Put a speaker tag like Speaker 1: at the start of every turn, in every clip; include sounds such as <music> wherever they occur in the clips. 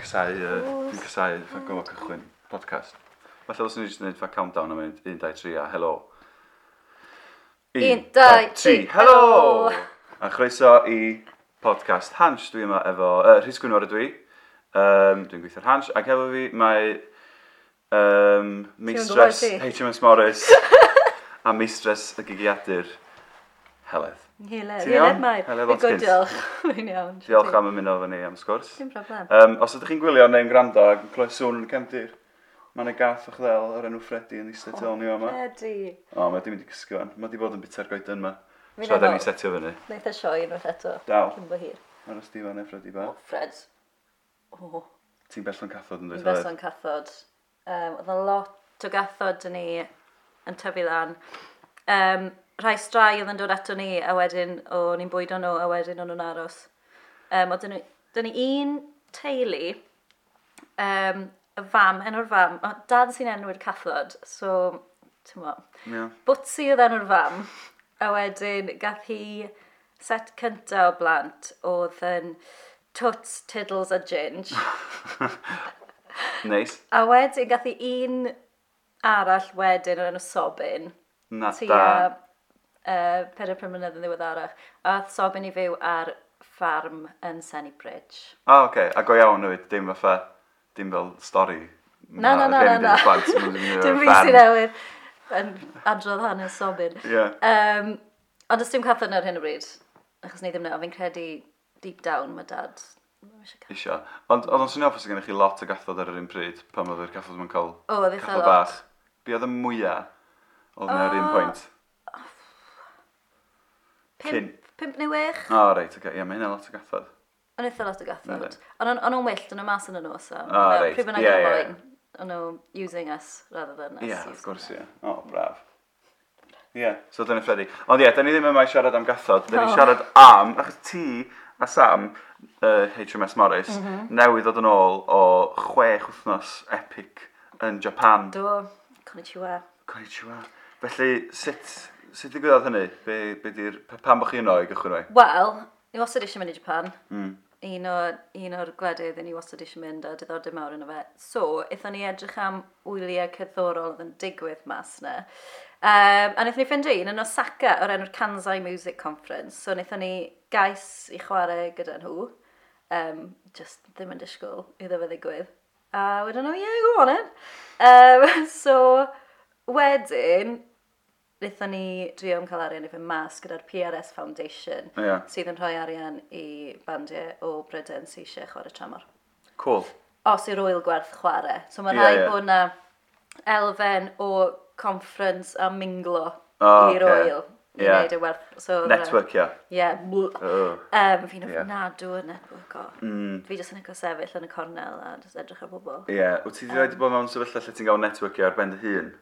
Speaker 1: casau, yy,
Speaker 2: Oes.
Speaker 1: dwi'n casau ffa gofod cychwyn podcast. Falle os ni'n just gwneud ffa countdown am 1, 2, 3 a helo.
Speaker 2: Un,
Speaker 1: Un,
Speaker 2: dau,
Speaker 1: tri,
Speaker 2: tri,
Speaker 1: helo!
Speaker 2: helo!
Speaker 1: A chroeso i podcast Hans, dwi yma efo, uh, Rhys Gwynfor ydw i, um, dwi'n gweithio'r Hans, ac efo fi mae um, meistress
Speaker 2: gwybod ti?
Speaker 1: HMS Morris <laughs> a meistress y gigiadur Heledd.
Speaker 2: Heledd.
Speaker 1: Ti'n iawn?
Speaker 2: Heledd mae.
Speaker 1: Heledd
Speaker 2: Mae'n
Speaker 1: Watkins.
Speaker 2: good diolch. <laughs> Mae'n iawn.
Speaker 1: Diolch am ymuno efo ni am sgwrs.
Speaker 2: Dim problem.
Speaker 1: Um, os ydych chi'n gwylio neu'n gwrando ac yn clywed sŵn yn y cefndir, mae yna gath o'ch ddel o'r enw Freddy yn eistedd tu ôl ni yma.
Speaker 2: Ydy.
Speaker 1: O, mae di mynd i cysgu fan. Mae di bod yn bita'r goeden yma.
Speaker 2: Fi'n
Speaker 1: So, da ni
Speaker 2: meddwl.
Speaker 1: setio fyny.
Speaker 2: Wnaeth y sioi unwaith eto.
Speaker 1: Dal.
Speaker 2: Cyn bo hir.
Speaker 1: Aros di fan e, Freddy ba.
Speaker 2: O, Fred. O,
Speaker 1: Ti'n bellon cathod yn
Speaker 2: yn
Speaker 1: dweud
Speaker 2: berson cathod. Um, Oedd 'na lot o gathod yn ni yn tyfu lan. Um, rhai strai oedd yn dod ato ni, a wedyn o'n i'n bwydo nhw, a wedyn o'n nhw'n aros. Um, oedd dyn ni, dyn ni un teulu, um, y fam, enw'r fam, o, dad sy'n enw'r cathod, so, ti'n mo,
Speaker 1: Ie.
Speaker 2: Bwtsi oedd enw'r fam, a wedyn gath hi set cyntaf o blant oedd yn Toots, Tiddles a Ginge.
Speaker 1: Neis.
Speaker 2: A wedyn gath hi un arall wedyn o'r enw Sobin.
Speaker 1: Na da.
Speaker 2: Tua uh, 4-5 mlynedd yn ddiweddarach. A oedd Sobin i fyw ar ffarm yn Senny Bridge.
Speaker 1: O, oce. A go iawn nhw, dim fatha, dim fel stori.
Speaker 2: Na, na, na, na, na. <laughs> Dim fi sy'n newydd yn adrodd hanes Sobin.
Speaker 1: Ie.
Speaker 2: Um, ond ys dim cathod ar hyn o bryd, achos ni ddim na, fi'n credu deep down mae dad. ma' eisiau cathod.
Speaker 1: Isio. Ond oedd o'n swnio ffos gennych chi lot o gathod ar yr un pryd, pan oedd yr gathod yn cael
Speaker 2: O, oedd eitha
Speaker 1: cathod
Speaker 2: lot. Ah.
Speaker 1: bach. Be oedd y mwyaf oedd yna ar un pwynt? cyn.
Speaker 2: Pimp, pimp neu wech,
Speaker 1: O, reit, oce. Ie, mae hynna lot o gathod.
Speaker 2: ond eitha lot o gathod.
Speaker 1: Yndi.
Speaker 2: Ond o'n- o'n nhw'n wyllt, o'n nhw'n mas yn y nos. O,
Speaker 1: Ah, reit.
Speaker 2: Pryd bynnag
Speaker 1: Ie,
Speaker 2: o'n
Speaker 1: ie, ie.
Speaker 2: boen, o'n nhw using us rather than us.
Speaker 1: Ie, wrth
Speaker 2: using
Speaker 1: gwrs, ie. O, braf. Ie, so dyna Freddy. Ond ie, da ni ddim yma i siarad am gathod, da ni'n
Speaker 2: O.
Speaker 1: siarad am, achos ti a Sam, uh, HMS Morris,
Speaker 2: Mhm.
Speaker 1: newydd ddod yn ôl o chwech wythnos epic yn Japan.
Speaker 2: Do, konnichiwa.
Speaker 1: Konnichiwa. Felly, sut, sut digwyddodd hynny? Be, be di'r, pa- pam bod chi yno i gychwyn o'i?
Speaker 2: Wel, ni wastad eisiau mynd i Japan. Mm. Un o- un o'r gwledydd ni wastad eisiau mynd a diddordeb mawr yna fe. So, eithon ni edrych am wyliau cerddorol oedd yn digwydd mas yna. Um, a wnaethon ni ffeindio un yn Osaka o'r enw'r Kansai Music Conference. So, wnaethon ni gais i chwarae gyda nhw. Um, just ddim yn disgwyl iddo fe ddigwydd. A wedyn nhw, yeah, go on it. Um, <laughs> so, wedyn, wnaethon ni drio am cael arian i fy mas gyda'r PRS Foundation
Speaker 1: Ie.
Speaker 2: sydd yn rhoi arian i bandiau o Bryden sy'n eisiau chwarae tramor.
Speaker 1: Cool.
Speaker 2: Os i'r oil gwerth chwarae. So mae
Speaker 1: Ie,
Speaker 2: rhaid
Speaker 1: ie.
Speaker 2: bod yna elfen o conference a minglo
Speaker 1: O,
Speaker 2: i'r
Speaker 1: ocê.
Speaker 2: oil. I
Speaker 1: Ie.
Speaker 2: wneud y werth. So, oedd rhaid-
Speaker 1: Network, ie.
Speaker 2: Ie. Yeah.
Speaker 1: Oh.
Speaker 2: Um, fi'n
Speaker 1: Ie.
Speaker 2: ofnadw yn network o. Mm. Fi jyst yn eco sefyll yn y cornel a jyst edrych ar bobl.
Speaker 1: Ie, wyt ti wedi bod mewn sefyllfa lle ti'n gael networkio ar ben dy hun?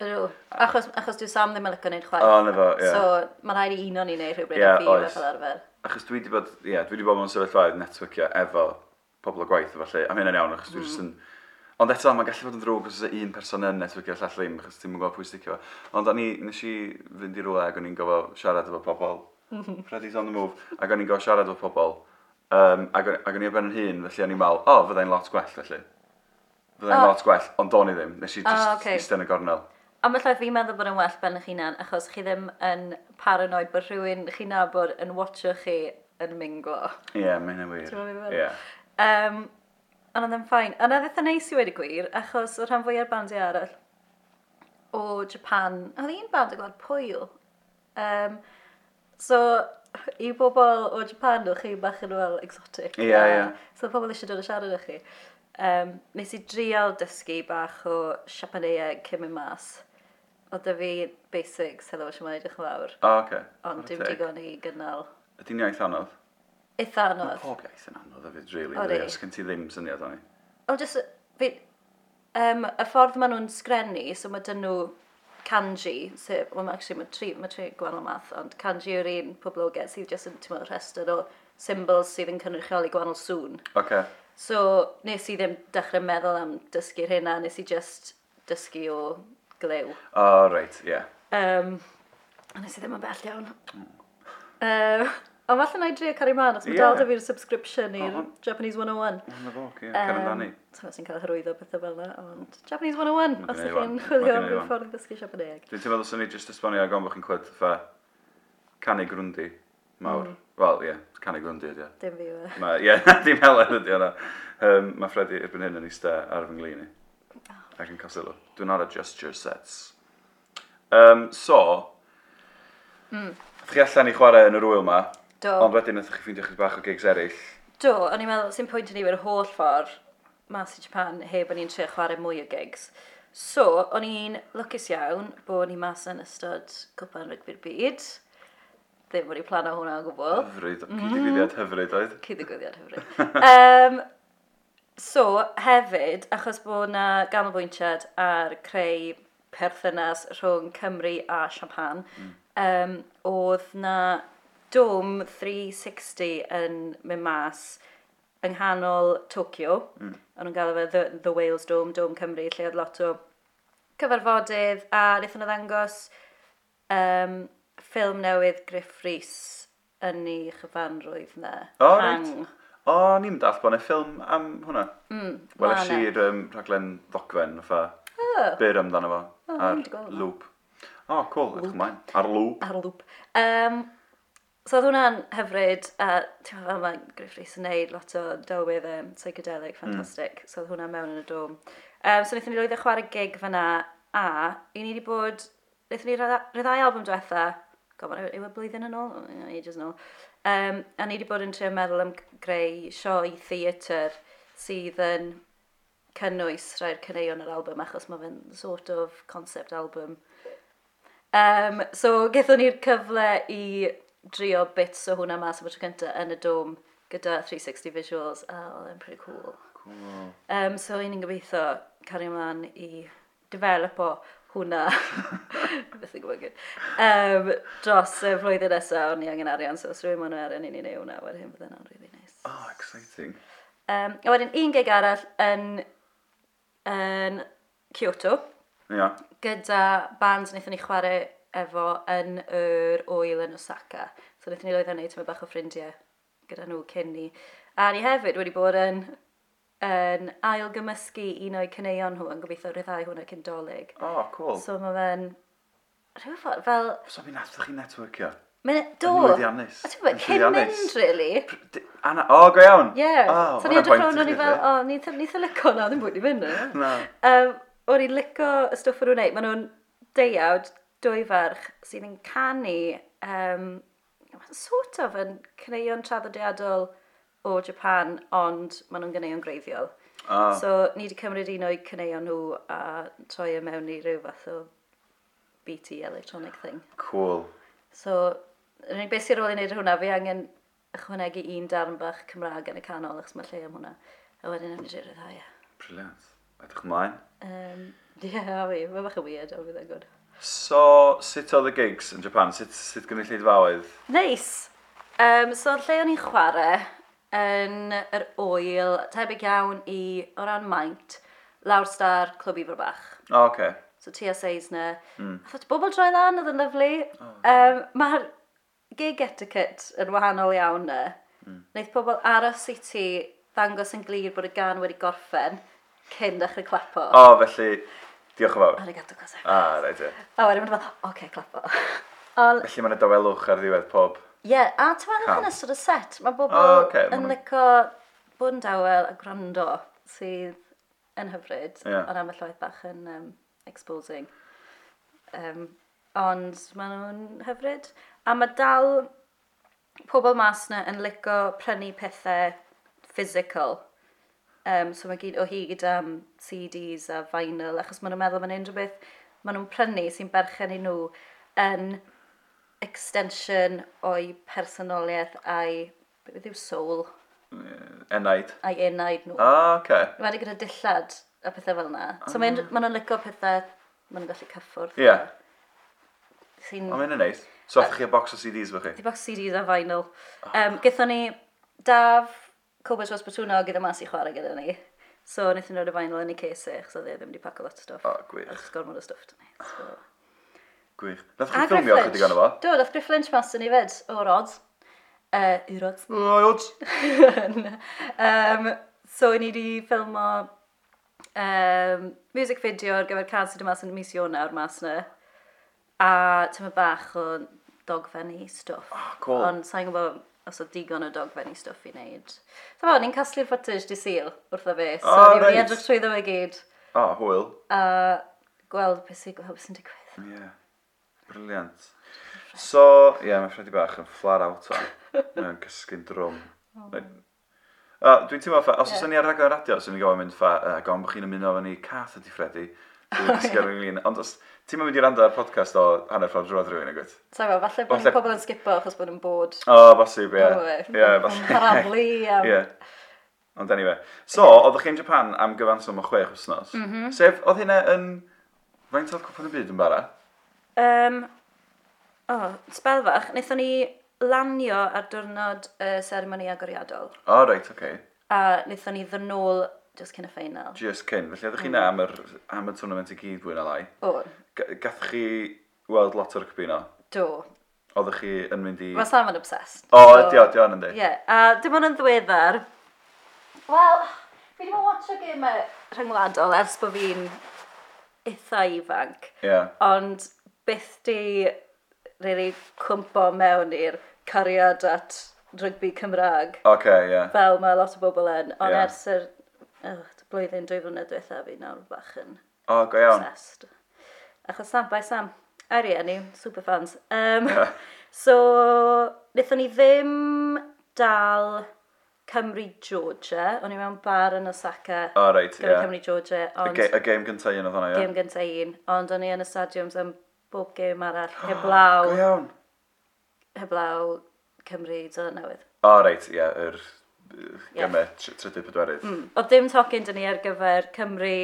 Speaker 2: Ydw. Achos, achos dwi Sam ddim yn lygo wneud chwaith.
Speaker 1: O, na fo, ie.
Speaker 2: So, mae rhaid i un o'n i wneud rhywbryd
Speaker 1: Ie,
Speaker 2: yeah, fi
Speaker 1: oes.
Speaker 2: oes. fel arfer.
Speaker 1: Achos dwi wedi bod, ie, yeah, dwi wedi bod mewn sefyllfaoedd networkio efo pobl o gwaith a falle, a mae hynna'n iawn achos dwi
Speaker 2: Mm.
Speaker 1: jyst yn... Ond eto, mae'n gallu bod yn drwg os oes un person yn networkio a llall ddim, achos ti'n mwyn gweld pwy sticio fo. Ond o'n i, nes i fynd i rwle ac o'n i'n gofio siarad efo
Speaker 2: <laughs>
Speaker 1: pobl, Freddy's on the move, ac o'n i'n gofio siarad efo pobl, um, ac o'n ac o'n i o ben yn hun, felly o'n i'n meddwl, o, oh, fyddai'n lot gwell, felly. Fyddai'n
Speaker 2: O.
Speaker 1: lot gwell, ond do'n i ddim, nes i
Speaker 2: O,
Speaker 1: just
Speaker 2: ocê.
Speaker 1: eistedd yn y gornel.
Speaker 2: Ond felly fi'n meddwl bod yn well ben eich hunan, achos chi ddim yn paranoid bod rhywun chi'n nabod yn watcho chi yn minglo.
Speaker 1: Ie, yeah, mae hynna'n wir.
Speaker 2: Ti'n gwbod be dwi'n
Speaker 1: Ie.
Speaker 2: meddwl? Um, ond oedd yn ffain. Ond oedd eitha neis i wedi gwir, achos o rhan fwy ar bandiau arall o Japan. Oedd un band yn gwlad pwyl. Um, so, i bobl o Japan o chi bach yn wel exotic.
Speaker 1: Ie, ie.
Speaker 2: So, oedd pobl eisiau dod a siarad â chi. Um, nes i drial dysgu bach o Siapaneau cyn mynd mas. Oedd da fi basics, helo, sy'n mynd i'ch lawr.
Speaker 1: O, oce.
Speaker 2: Ond dim digon i gynnal.
Speaker 1: Ydy'n iaith anodd?
Speaker 2: Eitha anodd.
Speaker 1: Pob iaith yn anodd hefyd, really.
Speaker 2: Odi.
Speaker 1: Odi. Os gen ti ddim syniad o'n i.
Speaker 2: O, just, fi, um, y ffordd maen nhw'n sgrennu, so mae dyn nhw kanji, sef, well, actually, mae tri, mae tri gwahanol math, ond kanji yw'r un poblogedd sydd jyst yn, ti'n meddwl, rhestr o symbols sydd yn cynrychioli gwahanol sŵn.
Speaker 1: Oce.
Speaker 2: So, nes i ddim dechrau meddwl am dysgu'r hynna, nes i just dysgu o glew.
Speaker 1: O, reit, ie.
Speaker 2: Um, a nes i ddim yn bell iawn. Um, O, falle na i drio cario man, os mae
Speaker 1: Ie.
Speaker 2: dal da fi'r subscription i'r
Speaker 1: Mhm.
Speaker 2: Japanese 101.
Speaker 1: Yn y boc, ie, cer amdani.
Speaker 2: Ti'n sy'n cael hyrwyddo pethau fel yna, ond Japanese 101,
Speaker 1: Ma'
Speaker 2: os
Speaker 1: gennai
Speaker 2: ydych chi'n
Speaker 1: rŵan. Ma'
Speaker 2: chwilio am
Speaker 1: gennai
Speaker 2: rhyw
Speaker 1: rŵan.
Speaker 2: ffordd i ddysgu Siapaneg.
Speaker 1: Dwi'n teimlo dylswn ni jyst esbonio ag on bod chi'n clywed fa canu grwndi mawr. Mm. Wel, ie, yeah, canu grwndi ydi o.
Speaker 2: Dim fi yw e.
Speaker 1: Mae, ie, <laughs> dim helen ydi hwnna. Um, mae Freddy erbyn hyn yn eista ar fy nglyn i. Ac yn cael sylw. Do not adjust your sets. Um, so, mm. chi allan i chwarae yn yr wyl ma,
Speaker 2: Do.
Speaker 1: ond wedyn ydych chi ffeindio chyd bach o gigs eraill.
Speaker 2: Do, o'n i'n meddwl, sy'n pwynt i ni fy'r holl ffordd mas i Japan heb o'n i'n trio chwarae mwy o gigs. So, o'n i'n lwcus iawn bod ni mas yn ystod cwpan rygbi'r byd. Ddim wedi plan o hwnna o gwbl.
Speaker 1: Hyfryd,
Speaker 2: Mhm.
Speaker 1: cyd-ddigwyddiad hyfryd oedd.
Speaker 2: Cyddigwyddiad
Speaker 1: <laughs>
Speaker 2: hyfryd. um, so, hefyd, achos bod na ganolbwyntiad ar creu perthynas rhwng Cymru a Siapan, mm. um, oedd na dwm 360 yn mynd mas yng nghanol Tokyo. Mm. O'n nhw'n galw fe the, the Wales Dome, Dome Cymru, lle oedd lot o cyfarfodydd a wnaethon nhw ddangos um, ffilm newydd Griff Rhys yn ei chyfanrwydd na.
Speaker 1: O, reit. O, ni'n dall bod yna ffilm am hwnna. Mm, Weles
Speaker 2: ma' na.
Speaker 1: i'r um, rhaglen ddogfen, fatha,
Speaker 2: Oh,
Speaker 1: byr amdano fo,
Speaker 2: O,
Speaker 1: ar
Speaker 2: dwi'n gweld hwnna.
Speaker 1: lŵp. O, cool, edrych ymlaen. Ar lŵp.
Speaker 2: ar y lŵp. Um, so oedd hwnna'n hyfryd, a ti'n meddwl mae Griff Rhys yn neud lot o delwedd um, psychedelic, ffantastig. Mm. So oedd hwnna mewn yn y dom. Um, so wnaethon ni lwyddo chwarae gig fyna, a i ni wedi bod, wnaethon ni rydda- ryddau album diwetha, gofod, yw y blwyddyn yn ôl? Mm, Ages yn ôl. Um, a ni wedi bod yn trio meddwl am greu sioe theatr sydd yn cynnwys rhai'r cyneuon yr album achos mae fe'n sort of concept album. Um, so, gethon ni'r cyfle i drio bits o hwnna mas am y tro cyntaf yn y dom gyda 360 visuals a oedd e'n pretty cool.
Speaker 1: Cool.
Speaker 2: Um, so, i ni'n gobeithio cario ymlaen i develop o hwnna beth i'n gwybod gyd. Um, dros y flwyddyn nesaf, o'n i angen arian, so os rwy'n ma'n arian i ni neud hwnna, wedyn fydde'n really nice.
Speaker 1: O, oh, exciting.
Speaker 2: Um, a wedyn un gig arall yn, yn Kyoto
Speaker 1: Ia.
Speaker 2: gyda bands wnaethon ni chwarae efo yn yr oil yn Osaka. So wnaethon ni loedd hynny tyma bach o ffrindiau gyda nhw cyn ni. A ni hefyd wedi bod yn, yn ailgymysgu un o'i cyneuon nhw yn gobeithio ryddau hwnna cyndolig.
Speaker 1: O, cool. So,
Speaker 2: So mae fe'n rhyw ffordd fel...
Speaker 1: so mi nath chi networkio?
Speaker 2: Mae'n do!
Speaker 1: Yn lwyddiannus.
Speaker 2: A ti'n bod,
Speaker 1: Yn
Speaker 2: cyn
Speaker 1: llwyddiannus.
Speaker 2: mynd, really.
Speaker 1: D- Anna, o, go iawn.
Speaker 2: Ie.
Speaker 1: O,
Speaker 2: so
Speaker 1: hwnna'n
Speaker 2: ni edrych
Speaker 1: point
Speaker 2: rownd,
Speaker 1: i
Speaker 2: o'n i
Speaker 1: chi,
Speaker 2: fel,
Speaker 1: de.
Speaker 2: o, ni eitha lico na, ddim bwyd i fynd. na."
Speaker 1: Na.
Speaker 2: Um, o'n i'n licio y stwff o'n nhw'n neud. Maen nhw'n deuawd, dwy ferch, sydd yn canu, um, sort of yn cneuon traddodiadol o Japan, ond maen nhw'n gyneuon greiddiol.
Speaker 1: O,
Speaker 2: So, ni wedi cymryd un o'i cneuon nhw a troi e mewn i ryw fath o BT electronic thing.
Speaker 1: cool.
Speaker 2: So, yn unig beth sy'n rôl i wneud hwnna, fi angen ychwanegu un darn bach Cymraeg yn y canol, achos mae lle am hwnna. A wedyn am ni'n rhaid ie.
Speaker 1: Brilliant. Edrych ymlaen.
Speaker 2: Um, <laughs> Ie, yeah, fi, mae bach yn weird, ond fydd e'n gwrdd.
Speaker 1: So, sut oedd y gigs yn Japan? Sut, sut gynnu lleidfaoedd?
Speaker 2: Neis! Um, so, lle o'n i'n chwarae yn yr oil, tebyg iawn i, o ran maint, lawr star clwb i bach.
Speaker 1: O, oce. Okay.
Speaker 2: So Tia Seisner. Mm. Thought bobl droi lan oedd yn lyflu. Um, Mae'r gig etiquette yn wahanol iawn na. Mm. Wneud pobl aros i ti ddangos yn glir bod y gan wedi gorffen cyn ddechrau clapo.
Speaker 1: O, felly, diolch yn fawr.
Speaker 2: Ar y gadw gosau.
Speaker 1: A, rhaid e.
Speaker 2: A wedyn mae'n fath, oce, clapo. <laughs> Ond,
Speaker 1: Felly mae'n dawelwch ar ddiwedd pob.
Speaker 2: ie, yeah, a ti'n meddwl
Speaker 1: Calm.
Speaker 2: yn ystod y set, mae bobl
Speaker 1: O, ocê, ma'
Speaker 2: yn
Speaker 1: nhw'n-
Speaker 2: licio bod yn dawel a gwrando sydd yn hyfryd,
Speaker 1: Ie.
Speaker 2: ond am y lloedd bach yn um, exposing. Um, ond maen nhw'n hyfryd. A mae dal pobl mas na yn licio prynu pethau physical. Um, so mae gyd o hyd am CDs a vinyl, achos maen nhw'n meddwl mae'n unrhyw beth maen nhw'n prynu sy'n berchen i nhw yn extension o'i personoliaeth a'i, beth yw soul,
Speaker 1: Enaid.
Speaker 2: a'i enaid nhw.
Speaker 1: O, oce. Okay.
Speaker 2: Mae wedi gyda dillad a pethau fel yna. So mae'n ma nhw'n licio pethau maen nhw'n gallu cyffwrdd.
Speaker 1: Ie.
Speaker 2: Sy'n...
Speaker 1: O, mae'n yn neis. So, oedd chi a box o CDs fe chi?
Speaker 2: Di box CDs a vinyl. Um, Gethon ni daf Cobas Ros Batwnog gyda mas i chwarae gyda ni. So, wnaethon ni roi y vinyl yn ei cesu, achos oedd e ddim wedi paco lot o stwff.
Speaker 1: O, gwych.
Speaker 2: Achos gormod o stwff dyn ni. So.
Speaker 1: Gwych. Nath chi ffilmio chydig o'n fo?
Speaker 2: Do, dath Griff Lynch mas yn ni fed, o'r odds. Uh, Erots.
Speaker 1: Oed!
Speaker 2: um, so, ni wedi ffilmo um, music video ar gyfer can sydd mas yn mis Ionawr mas yna. A tyma bach o dogfennu stwff.
Speaker 1: Ah, cool.
Speaker 2: Ond sa'n gwybod os oedd digon o dogfennu stwff i wneud. So, fo, ni'n casglu'r footage di syl wrtho fe. So,
Speaker 1: Ah,
Speaker 2: ni wedi
Speaker 1: reit.
Speaker 2: edrych trwy ddo fe gyd
Speaker 1: O, hwyl.
Speaker 2: a gweld beth sy'n gweld beth sy'n digwydd.
Speaker 1: Ie. Briliant. So, ie, yeah, mae Freddy bach yn flar out o'n. Mae'n cysgu'n drwm. Like- A dwi'n teimlo ffa, os oes ni ar ragor radio, os ni'n gofyn mynd ffa, uh, gofyn bod chi'n ymuno efo ni cath ydi Freddy. Dwi'n cysgu ar ynglyn. Ond os ti'n mynd i rando ar podcast o hanner ffordd drwodd rhywun, agwyd?
Speaker 2: Sa'n gwybod, falle bod
Speaker 1: Falle-
Speaker 2: pobl yn sgipo achos bod yn bod.
Speaker 1: O, bosib, ie. Ie, falle. <laughs>
Speaker 2: Parablu am...
Speaker 1: Ie. Ond anyway. So, oeddech chi'n Japan am gyfanswm o chwech wsnos.
Speaker 2: Mhm.
Speaker 1: Sef, oedd hynna yn... Faint oedd cwpan y byd yn bara?
Speaker 2: Um, o, oh, sbel fach, wnaethon ni lanio ar diwrnod y uh, seremoni agoriadol.
Speaker 1: O, reit, oce. Okay.
Speaker 2: A wnaethon ni ddynol just cyn y ffeinal.
Speaker 1: Just cyn, felly oeddech chi
Speaker 2: Mhm.
Speaker 1: na am, yr, am y tournament i gyd fwy na lai.
Speaker 2: O,
Speaker 1: Ga- Gath chi weld lot o'r cybino?
Speaker 2: do.
Speaker 1: Oeddech chi yn mynd i...
Speaker 2: Mae Sam yn obsessed.
Speaker 1: O, ydi o, ydi o'n yndi.
Speaker 2: Ie, yeah. a dim ond yn ddiweddar. Wel, fi wedi bod watcho gymau rhyngwladol ers bod fi'n eitha ifanc.
Speaker 1: Ie.
Speaker 2: Ond byth di really cwmpo mewn i'r cariad at rygbi Cymraeg.
Speaker 1: Oce, ie.
Speaker 2: Fel mae lot o bobl yn, ond
Speaker 1: Ie.
Speaker 2: yeah. ers yr oh, blwyddyn, dwy flynedd diwetha fi nawr bach yn
Speaker 1: O, go iawn.
Speaker 2: obsessed. Achos Sam by Sam, aria ni, superfans. Um, <laughs> so, wnaethon ni ddim dal Cymru Georgia. O'n i mewn bar yn Osaka,
Speaker 1: O, reit,
Speaker 2: Cymru,
Speaker 1: ie.
Speaker 2: Cymru Georgia,
Speaker 1: Y
Speaker 2: ond
Speaker 1: ge- Y game gyntaf un oedd hwnna, ie.
Speaker 2: gêm gyntaf un. Ond o'n i yn y stadiums am bob gêm
Speaker 1: <gasps>
Speaker 2: arall,
Speaker 1: Go
Speaker 2: heblaw,
Speaker 1: iawn.
Speaker 2: heblaw Cymru Dylan Newydd.
Speaker 1: O, reit, ie, yr
Speaker 2: Ie. Mm.
Speaker 1: gymau trydydd pedwerydd.
Speaker 2: O Hmm. dim tocyn dyn ni ar gyfer Cymru,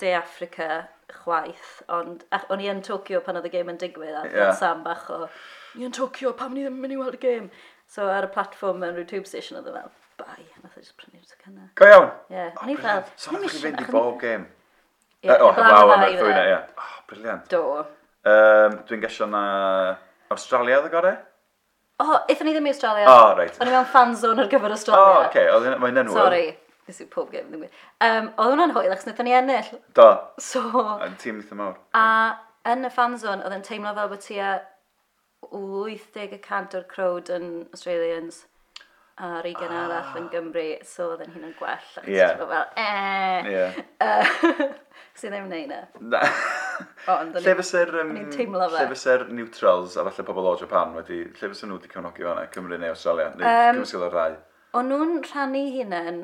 Speaker 2: De Africa, chwaith, ond ach, o'n i yn Tokyo pan oedd y gêm yn digwydd, a
Speaker 1: Ie.
Speaker 2: yeah. Sam bach o, ni yn Tokyo, pam ni ddim yn mynd i weld y gêm? So ar y platform yn YouTube station oedd e fel, bai, nath o jyst prynu'r tocynnau.
Speaker 1: Go iawn.
Speaker 2: Ie,
Speaker 1: O,
Speaker 2: o'n i fel,
Speaker 1: brilliant. So,
Speaker 2: "O'n i'm
Speaker 1: nath chi
Speaker 2: isio-
Speaker 1: fynd i
Speaker 2: ach, o'n i-
Speaker 1: bob game?
Speaker 2: Ie,
Speaker 1: Yy, O,
Speaker 2: heblaw
Speaker 1: heblaw am
Speaker 2: am
Speaker 1: y
Speaker 2: ddau
Speaker 1: llwyna,
Speaker 2: fe.
Speaker 1: ie. O, briliant.
Speaker 2: Do.
Speaker 1: Yym, Dwi'n gesio na Australia oedd y gorau?
Speaker 2: O, eithon ni ddim i Australia.
Speaker 1: O, reit.
Speaker 2: O'n i mewn fan zone ar gyfer
Speaker 1: O,
Speaker 2: Australia.
Speaker 1: oce, oedd hynna- mae'n enwol.
Speaker 2: Sorry, nes i pob gêm ddim gwir. Um, oedd hwnna'n hwyl, achos wnaethon ni ennill.
Speaker 1: Do,
Speaker 2: So,
Speaker 1: yn tîm eitha mawr.
Speaker 2: a yn y fan zone, oedd yn teimlo fel bod tua 80% o'r crowd yn Australians a'r 20 arall yn Gymru, so oedd yn hyn yn gwell. Ac
Speaker 1: Ah. Ie.
Speaker 2: ti'n meddwl fel, eh, <laughs>
Speaker 1: Ie.
Speaker 2: sy'n ddim wneud na.
Speaker 1: Na.
Speaker 2: Ond,
Speaker 1: Lle
Speaker 2: o'n i-
Speaker 1: fyser... Um,
Speaker 2: i'n teimlo fe.
Speaker 1: Lle fyser neutrals a falle pobl o Japan wedi... Lle fyser nhw wedi cefnogi fanna, Cymru neu Australia? Neu
Speaker 2: Yym,
Speaker 1: um, Cymru o'r rai?
Speaker 2: o'n nhw'n rhannu hunain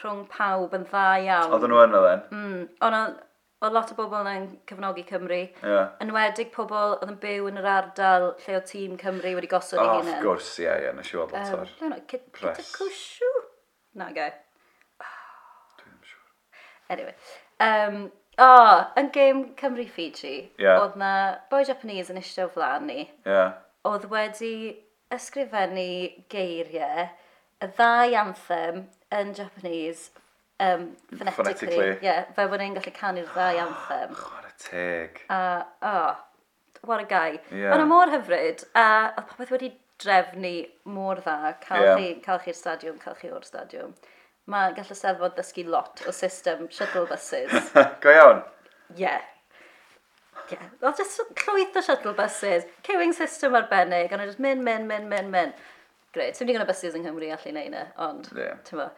Speaker 2: rhwng pawb yn dda iawn.
Speaker 1: Oedden nhw yn o then?
Speaker 2: Mm, ond o- oedd lot o bobl yn cefnogi Cymru.
Speaker 1: Ie.
Speaker 2: Enwedig pobl oedd yn byw yn yr ardal lle o tîm Cymru wedi gosod
Speaker 1: O,
Speaker 2: ei
Speaker 1: Of
Speaker 2: hunain.
Speaker 1: gwrs, ie, ie, nes i weld lot
Speaker 2: Um,
Speaker 1: o'r...
Speaker 2: lle yna, gyda
Speaker 1: Press.
Speaker 2: cwsiw? Na, gai.
Speaker 1: Dwi'n ddim siŵr.
Speaker 2: Anyway. Um, o, oh, yn gêm Cymru-Fiji,
Speaker 1: Ie.
Speaker 2: oedd na boi Japanese yn eistedd o flaen ni,
Speaker 1: Ie.
Speaker 2: oedd wedi ysgrifennu geiriau, y ddau anthem yn Japanese, um, phonetically,
Speaker 1: Phonetically.
Speaker 2: yeah, fe bod ni'n gallu canu'r ddau anthem.
Speaker 1: Chwarae teg.
Speaker 2: a, o, what a guy.
Speaker 1: Ie.
Speaker 2: Yeah. Ond o mor hyfryd, a oedd popeth wedi drefnu mor dda, cael
Speaker 1: Ie.
Speaker 2: yeah. chi, cael chi'r stadiwm, cael chi o'r stadiwm. Mae gall y seddfod ddysgu lot o system shuttle buses.
Speaker 1: <laughs> Go iawn.
Speaker 2: yeah. Yeah. Wel, jyst llwyth o shuttle buses, queuing system arbennig, ond o'n jyst mynd, mynd, mynd, mynd, mynd. Greit, sy'n digon o buses yng Nghymru allu neud yna, ond,
Speaker 1: Ie.
Speaker 2: ti'n mo.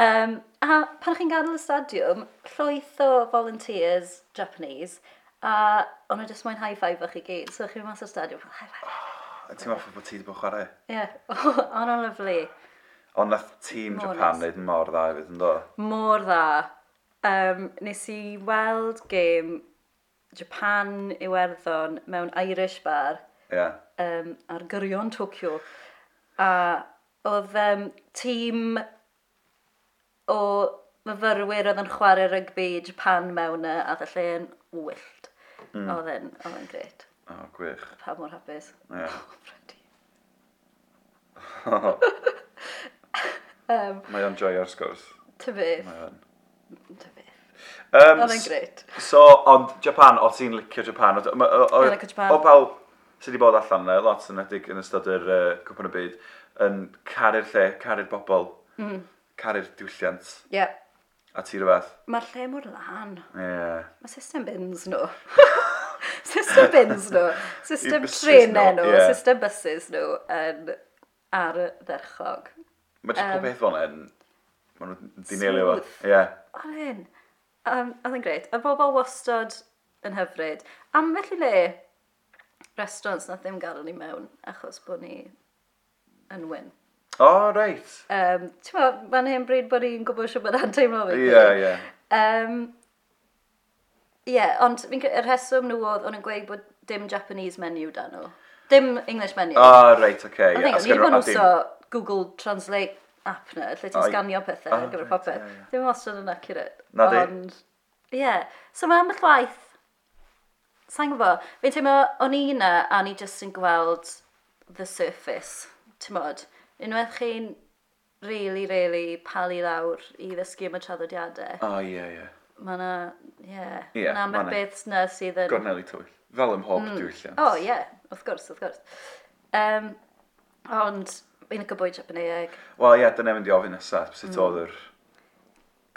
Speaker 2: Um, a pan chi'n gadael y stadiwm, llwyth o volunteers Japanese, a o'n nhw jyst moyn high five o'ch i gyd, so chi'n mas o'r stadiwm, fel high five.
Speaker 1: Ti'n meddwl bod ti wedi bod chwarae?
Speaker 2: Ie, <laughs> yeah. o'n o'n lyflu.
Speaker 1: Ond nath tîm
Speaker 2: Mor
Speaker 1: Japan wneud
Speaker 2: neis.
Speaker 1: yn mor dda hefyd yn do?
Speaker 2: Mor dda. Um, nes i weld gêm Japan Iwerddon mewn Irish bar
Speaker 1: Ie.
Speaker 2: um, ar gyrion Tokyo. A oedd um, tîm o myfyrwyr oedd yn chwarae rygbi i Japan mewn y, a ddau lle yn wyllt.
Speaker 1: Hmm.
Speaker 2: Mm. Oedd yn, oedd yn gret.
Speaker 1: O, gwych.
Speaker 2: Pa mor hapus. <laughs>
Speaker 1: Ie.
Speaker 2: Oh, Freddie.
Speaker 1: Mae o'n joio'r sgwrs.
Speaker 2: Tybydd,
Speaker 1: Mae o'n.
Speaker 2: tybydd.
Speaker 1: Um,
Speaker 2: Oedd yn gret.
Speaker 1: So, ond Japan, o ti'n licio Japan? O, o, o,
Speaker 2: I like Japan.
Speaker 1: o bawb, sydd wedi bod allan yna, lot yn edig yn ystod yr uh, cwpan y byd, yn caru'r lle, caru'r bobl, mm. caru'r diwylliant,
Speaker 2: Ie.
Speaker 1: a ti rhywbeth.
Speaker 2: Mae'r lle mor lan.
Speaker 1: Ie. Yeah.
Speaker 2: Mae system bins nhw. <laughs> system bins nhw. System
Speaker 1: <laughs> I buses
Speaker 2: trenau
Speaker 1: nhw,
Speaker 2: nhw.
Speaker 1: ie.
Speaker 2: System buses nhw yn ar y dderchog.
Speaker 1: Mae jyst
Speaker 2: Yym.
Speaker 1: um, pob peth fan hyn, maen nhw'n dinelio fo.
Speaker 2: Smooth.
Speaker 1: Ie.
Speaker 2: Oedd hyn. Um, oedd yn greit. Y bobl wastad yn hyfryd. Am felly le, restaurants na ddim gadw ni mewn achos bod ni yn wyn.
Speaker 1: O, reit.
Speaker 2: Um, Ti'n meddwl, fan hyn bryd bod ni'n gwybod siw bod yn teimlo fi.
Speaker 1: Ie, ie.
Speaker 2: Um, Ie, yeah, ond fi'n cre- y rheswm nhw oedd, o'n yn gweud bod dim Japanese menu dan nhw. Dim English menu.
Speaker 1: O, reit, oce. ie.
Speaker 2: Ond yeah,
Speaker 1: A
Speaker 2: ni
Speaker 1: sgynno-
Speaker 2: bod
Speaker 1: a
Speaker 2: nhw'n
Speaker 1: dim-
Speaker 2: wso Google Translate app na, lle ti'n
Speaker 1: O, i-
Speaker 2: sganio pethau
Speaker 1: o,
Speaker 2: ar gyfer
Speaker 1: reit,
Speaker 2: popeth.
Speaker 1: ie, ie.
Speaker 2: Ddim wastad yn accurate.
Speaker 1: Na di.
Speaker 2: Ond, ie. Yeah. So mae ambell waith, sa'n gwybod, fi'n teimlo, o'n i na, a ni jyst yn gweld the surface, ti'n modd. Unwaith chi'n really, really palu lawr i ddysgu am y traddodiadau,
Speaker 1: O, ie, ie.
Speaker 2: mae yna, ie,
Speaker 1: Ie,
Speaker 2: mae
Speaker 1: ma' 'na.
Speaker 2: yna beth na sydd yn...
Speaker 1: Gorneli tywyll. Fel ym mhob diwylliant.
Speaker 2: Hmm. O, ie, wrth gwrs, wrth gwrs. Um, ond, fi'n y bwyd Japaneeg,
Speaker 1: Wel, ie, dyna mynd i ofyn nesaf, sut
Speaker 2: Hmm.
Speaker 1: oedd yr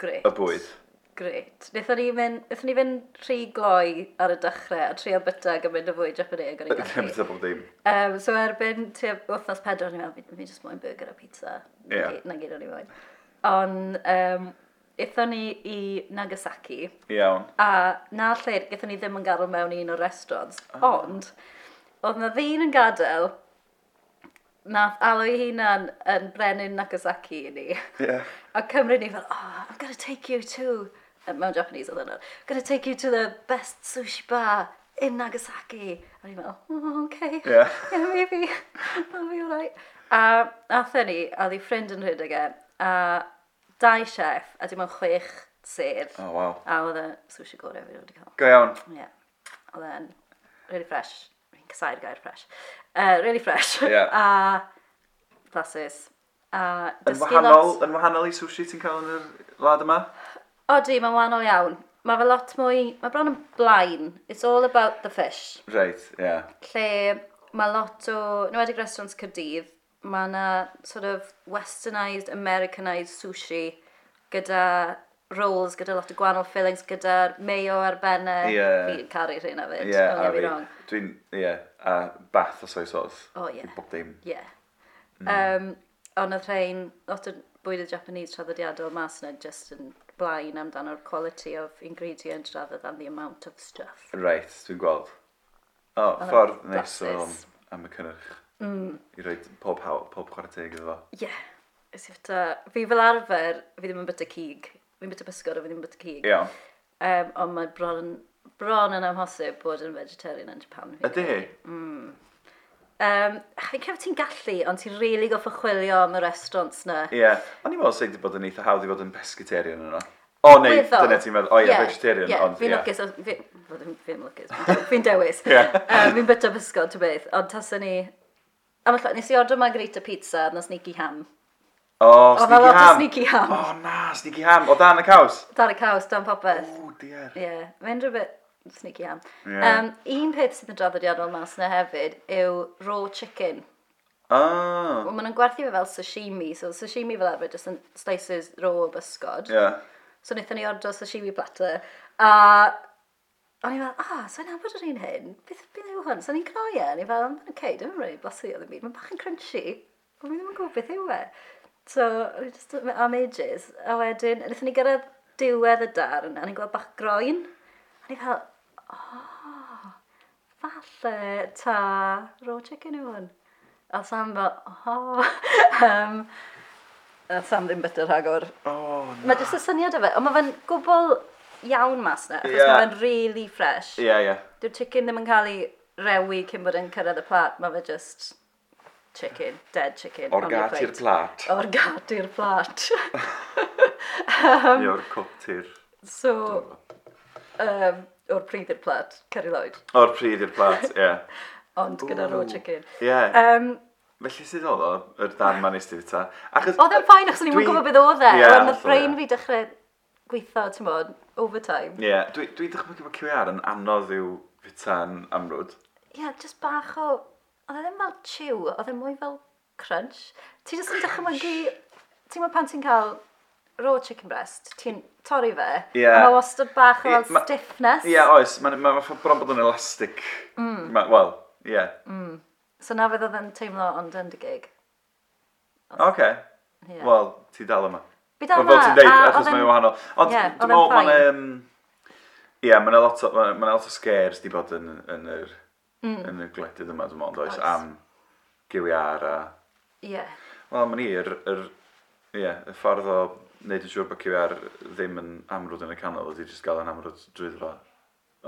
Speaker 2: greit.
Speaker 1: y bwyd.
Speaker 2: Greit. Nethon ni fynd, nethon ni fynd rhy gloi ar y dechrau a trio byta gymaint o fwyd
Speaker 1: <laughs>
Speaker 2: Japaneeg o'n i'n
Speaker 1: Dim
Speaker 2: gallu.
Speaker 1: byd o bob dim.
Speaker 2: um, so erbyn tua wythnos pedwar, ni'n meddwl, fi'n just moyn burger a pizza.
Speaker 1: Ie.
Speaker 2: Na gyd- Na gyd o'n i'n moyn. Ond, um, ethon ni i Nagasaki.
Speaker 1: Iawn.
Speaker 2: A na lle, gaethon ni ddim yn gadw mewn i un o'r restaurants.
Speaker 1: Ah.
Speaker 2: Ond, oedd na ddyn yn gadael, nath alw ei hunan yn brenu'n Nagasaki i ni. <laughs>
Speaker 1: Ie.
Speaker 2: A Cymru ni fel, oh, I'm gonna take you to, uh, mewn Japanese oedd hwnna, I'm gonna take you to the best sushi bar in Nagasaki. A ni'n fel,
Speaker 1: <laughs>
Speaker 2: oh, okay.
Speaker 1: Ie.
Speaker 2: <laughs> yeah, maybe. That'll be alright. A athen ni, a oedd ei ffrind yn rhedeg e, a dau chef, a dim ond chwech sedd.
Speaker 1: O, waw.
Speaker 2: A oedd y sushi gorau fi wedi cael.
Speaker 1: Go iawn.
Speaker 2: Ie. Oedd e'n really fresh. Fi'n casau'r gair fresh. Uh, really fresh.
Speaker 1: Ie.
Speaker 2: <laughs> A blasus. A
Speaker 1: Yn
Speaker 2: dysgu
Speaker 1: wahanol,
Speaker 2: lot...
Speaker 1: yn wahanol i sushi ti'n cael yn yr lad yma?
Speaker 2: O di, mae'n wahanol iawn. Mae fe lot mwy... Mae bron yn blaen. It's all about the fish.
Speaker 1: Reit, ie.
Speaker 2: Lle mae lot o... Nw wedi restaurants Cyrdydd. Mae yna sort of westernised, americanised sushi gyda rolls, gyda lot o gwahanol fillings, gyda'r mayo ar benne.
Speaker 1: Ie.
Speaker 2: Fi'n caru rhain a
Speaker 1: Ie,
Speaker 2: fyd. don't
Speaker 1: a
Speaker 2: get me
Speaker 1: fi.
Speaker 2: wrong.
Speaker 1: Dwi'n, ie, a bath o soy sauce.
Speaker 2: O, ie.
Speaker 1: Dwi'n Bob dim.
Speaker 2: Ie.
Speaker 1: Mm.
Speaker 2: Um, ond oedd rhain, lot o bwyd y Japanese traddodiadol mas yna just yn blaen amdano'r quality of ingredient rather than the amount of stuff.
Speaker 1: Reit, dwi'n gweld. O, ffordd neis o am y cynnyrch.
Speaker 2: Hmm.
Speaker 1: I roi pob hawl, pob chwarae teg iddo fo.
Speaker 2: Ie. Yeah. Fyta, fi fel arfer, fi ddim yn byta cig. Fi'n byta bysgod a fi ddim yn byta cig.
Speaker 1: Iawn.
Speaker 2: Um, ond mae bron, yn- bron yn amhosib bod yn vegetarian yn Japan. fi'n
Speaker 1: Ydy?
Speaker 2: credu. Um, fi'n credu ti'n gallu, ond ti'n rili really goffa chwilio am y restaurants na.
Speaker 1: Ie. O'n i'n meddwl sy'n di bod yn eitha hawdd i fod yn pescatarian yno. O, neu,
Speaker 2: Weddol.
Speaker 1: dyna ti'n meddwl, o ie,
Speaker 2: Ie,
Speaker 1: vegetarian,
Speaker 2: ie,
Speaker 1: ond
Speaker 2: Fi'n
Speaker 1: ie.
Speaker 2: lwcus, o- fi- wel, ddim- fi'n lwcus, fi'n-
Speaker 1: <laughs>
Speaker 2: fi'n dewis.
Speaker 1: Ie.
Speaker 2: Yy, Fi'n byta bysgod, ti'n beth, ond tasa ni... A mae nes i ordro margarita pizza, a nes Nicky Ham.
Speaker 1: O,
Speaker 2: Oedd 'na lot
Speaker 1: sneaky ham.
Speaker 2: o sneaky ham.
Speaker 1: O, na, sneaky ham. O, dan y caws.
Speaker 2: Dar y caws, dan popeth.
Speaker 1: O, dier.
Speaker 2: Ie, yeah, mae'n rhywbeth sneaky ham.
Speaker 1: Ie.
Speaker 2: Um, un peth sydd yn draddodiadol mas yna hefyd yw raw chicken.
Speaker 1: O,
Speaker 2: Wel, maen nhw'n gwerthu fe fel sashimi, so sashimi fel arfer, jyst yn slices raw o bysgod.
Speaker 1: ie.
Speaker 2: So wnaethon ni ordro sashimi platter. A o'n i'n fel, ah, so i'n abod yr un hyn. Beth beth yw hwn? So o'n i'n cnoi e. O'n i'n fel, oce, okay, dim yn rhaid blasu oedd y byd. Mae'n bach yn crunchy. Ond fi ddim yn gwybod beth yw e. So, o'n i'n just am ages. A wedyn, wnaethon ni gyrraedd diwedd y dar yna. O'n i'n gweld bach groen. O'n i'n fel, oh, falle ta raw chicken yw hwn. A Sam fel, <laughs> oh. um, a Sam ddim byta rhagor
Speaker 1: O,
Speaker 2: Mae jyst y syniad o fe, ond mae fe'n gwbl iawn mas na, achos
Speaker 1: Ie.
Speaker 2: yeah. mae fe'n really fresh. Yeah.
Speaker 1: Ie, ie.
Speaker 2: Dyw'r chicken ddim yn cael ei rewi cyn bod yn cyrraedd y plat, mae fe just chicken, dead chicken.
Speaker 1: O'r gat i'r plat.
Speaker 2: O'r gat i'r plat. <laughs>
Speaker 1: Ie, o'r cwt i'r...
Speaker 2: so, um, o'r pryd i'r plat, Ceri Lloyd,
Speaker 1: O'r pryd i'r plat, ie.
Speaker 2: ond gyda raw
Speaker 1: Ww.
Speaker 2: chicken.
Speaker 1: Ie.
Speaker 2: Um,
Speaker 1: Felly sydd oedd o, yr dan ma'n eistedd ta. Achos...
Speaker 2: oedd e- e'n ffain achos o'n i'n
Speaker 1: Dwi-
Speaker 2: gwybod beth oedd e,
Speaker 1: Ie,
Speaker 2: ond
Speaker 1: hollol,
Speaker 2: oedd brain
Speaker 1: ie.
Speaker 2: fi dechrau gweithio, ti'n bod, overtime.
Speaker 1: Ie, dwi, dwi ddechmygu bod QR yn anodd i'w fyta'n amrwd.
Speaker 2: yeah, just bach o... Oedd e ddim fel chew, oedd e mwy fel crunch. Ti jyst yn dychmygu... Ti'n gwybod pan ti'n cael raw chicken breast, ti'n torri fe.
Speaker 1: Ie.
Speaker 2: a Mae wastad bach o
Speaker 1: Ie,
Speaker 2: fel
Speaker 1: ma-
Speaker 2: stiffness.
Speaker 1: Ie, oes, mae'n ma, ma, ma bron bod yn elastic. Mm. Wel, ie. Yeah.
Speaker 2: Mm. So na fydd oedd yn teimlo ond yn dy gig.
Speaker 1: Oce.
Speaker 2: Ie.
Speaker 1: Wel, ti dal yma.
Speaker 2: Fi
Speaker 1: Wel,
Speaker 2: dal
Speaker 1: fel ti'n
Speaker 2: na,
Speaker 1: deud,
Speaker 2: a
Speaker 1: achos
Speaker 2: oedd
Speaker 1: mae'n
Speaker 2: e'n-
Speaker 1: wahanol. Ond
Speaker 2: Ie,
Speaker 1: dwi'n
Speaker 2: oedd
Speaker 1: meddwl,
Speaker 2: e'n
Speaker 1: mae'n...
Speaker 2: fine.
Speaker 1: yym, Ie, mae'n a lot o, ma' 'na lot o scares di bod yn, yn yr, yn y gwledydd yma, dwi'n meddwl, oes,
Speaker 2: Mm. Oes.
Speaker 1: am giwiar a...
Speaker 2: Ie.
Speaker 1: Wel, mae'n i, yr, yr, ie, y ffordd o wneud yn siŵr bod giwiar ddim yn amrwd yn y canol, ydy jyst gael yn amrwd drwydd fo.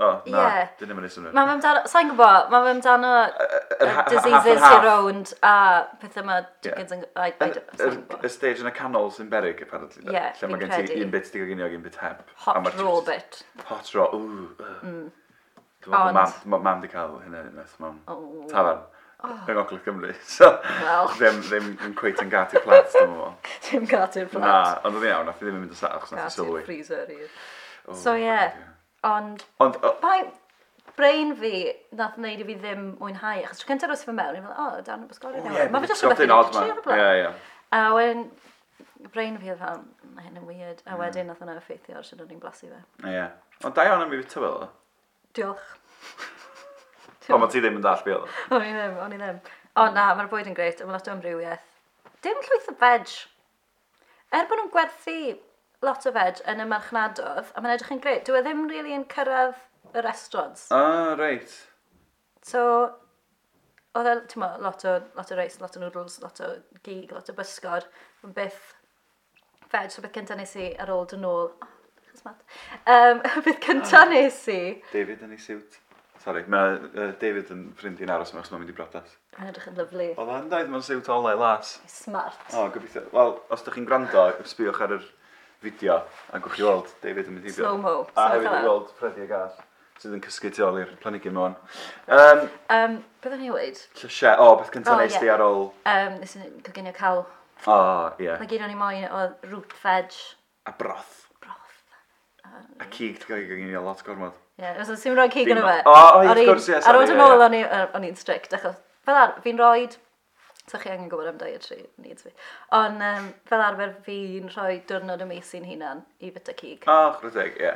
Speaker 1: O, na,
Speaker 2: Ie.
Speaker 1: dyn ni'n mynd i swnio.
Speaker 2: Mae fe amdano, sa'n gwybod, mae fe amdano
Speaker 1: yr
Speaker 2: y
Speaker 1: ha- half and
Speaker 2: diseases
Speaker 1: half.
Speaker 2: i'r rownd a pethau mae chickens yn... I, I,
Speaker 1: Yn-
Speaker 2: don't-
Speaker 1: yr-
Speaker 2: sai'n gwbod.
Speaker 1: Y stage yn y canol sy'n beryg, apparently. de,
Speaker 2: Ie,
Speaker 1: Lle mae
Speaker 2: fi'n
Speaker 1: gen ti
Speaker 2: credu.
Speaker 1: un bit digoginio ag un bit heb. A
Speaker 2: Hot
Speaker 1: ma'r
Speaker 2: raw
Speaker 1: jyst-
Speaker 2: bit.
Speaker 1: Hot raw, ww. Dwi'n meddwl
Speaker 2: Ond-
Speaker 1: mam, ma- mam di cael hynna unwaith mewn
Speaker 2: O.
Speaker 1: tafarn yng Ngogledd Cymru. <laughs> So,
Speaker 2: Wel. <laughs>
Speaker 1: ddim, ddim yn cweit yn gat i'r plant, dwi'n meddwl.
Speaker 2: Dim gati'r
Speaker 1: Na,
Speaker 2: flat.
Speaker 1: ond oedd iawn, nath i ddim yn mynd yn sach, nath i
Speaker 2: Gati'r
Speaker 1: sylwi. Oh,
Speaker 2: freezer i'r... So ie, ond
Speaker 1: Ond, o-
Speaker 2: bai brain fi nath wneud i fi ddim mwynhau, achos tro cyntaf roes i fy mewn, i'n meddwl, o, dan y bysgoli
Speaker 1: ie,
Speaker 2: nawr. Mae fe jyst
Speaker 1: something
Speaker 2: rhywbeth i'n
Speaker 1: odd,
Speaker 2: trio
Speaker 1: man.
Speaker 2: o'r blaen.
Speaker 1: Ie, ie.
Speaker 2: A wedyn, brain fi oedd fel, mae hyn yn weird.
Speaker 1: Mm.
Speaker 2: A wedyn nath hwnna effeithio ar sy'n o'n i'n blasu fe.
Speaker 1: Ie. Ond da iawn am i fita fel o.
Speaker 2: <laughs> Diolch.
Speaker 1: Ond mae ti ddim yn dall fi o.
Speaker 2: O'n i ddim, o'n i ddim. O na, mae'r bwyd yn greit, mae lot o amrywiaeth. Dim llwyth o veg. Er bod nhw'n gwerthu lot o veg yn y marchnadodd, a mae'n edrych yn greit, dwi e ddim really yn cyrraedd y restaurants.
Speaker 1: O, reit.
Speaker 2: So, oedd e, ti'n mo, lot o, lot o reis, lot o noodles, lot o gig, lot o bysgod, yn byth veg, so beth cyntaf nes i ar ôl dyn nôl, oh, chos mat, um, <laughs> beth cyntaf nes i,
Speaker 1: David yn ei siwt. Sorry, mae yy, David yn ffrind i'n aros yma, os mae'n mynd i brodas.
Speaker 2: mae'n edrych yn lyflu,
Speaker 1: Oedd yn daith mewn siwt olau las.
Speaker 2: smart.
Speaker 1: O, gobeithio. Wel, os ydych chi'n gwrando, sbiwch ar yr fideo a gwch chi weld David yn mynd i byd.
Speaker 2: Slow-mo.
Speaker 1: A
Speaker 2: Swnio'n
Speaker 1: hefyd i
Speaker 2: fel 'na.
Speaker 1: weld Freddy a Gath sydd yn cysgu tu ôl i'r planigyn mewn. Um,
Speaker 2: Um, beth o'n i wedi?
Speaker 1: Llysie, o, beth cyntaf
Speaker 2: O,
Speaker 1: oh, nes
Speaker 2: ie.
Speaker 1: di ar ôl...
Speaker 2: Um, nes i'n coginio cawl.
Speaker 1: O, ie.
Speaker 2: Mae gyd o'n i moyn oedd root veg,
Speaker 1: A broth.
Speaker 2: broth.
Speaker 1: A cig, ti'n cael ei gyngor lot gormod.
Speaker 2: Ie, os oes i'n rhoi cig yn
Speaker 1: Dim-
Speaker 2: y fe.
Speaker 1: O, o, ie,
Speaker 2: Ar
Speaker 1: wrth
Speaker 2: un-
Speaker 1: gwrs, ie,
Speaker 2: Ar
Speaker 1: sori,
Speaker 2: ôl yn
Speaker 1: ie, ie.
Speaker 2: ôl o'n i- yy, o'n i'n strict, achos fel ar, fi'n rhoi, so chi angen gwybod am dietary needs fi, ond um, fel arfer fi'n rhoi diwrnod y mis i'n hunan i fyta cig. <laughs>
Speaker 1: O, chrydig, ie.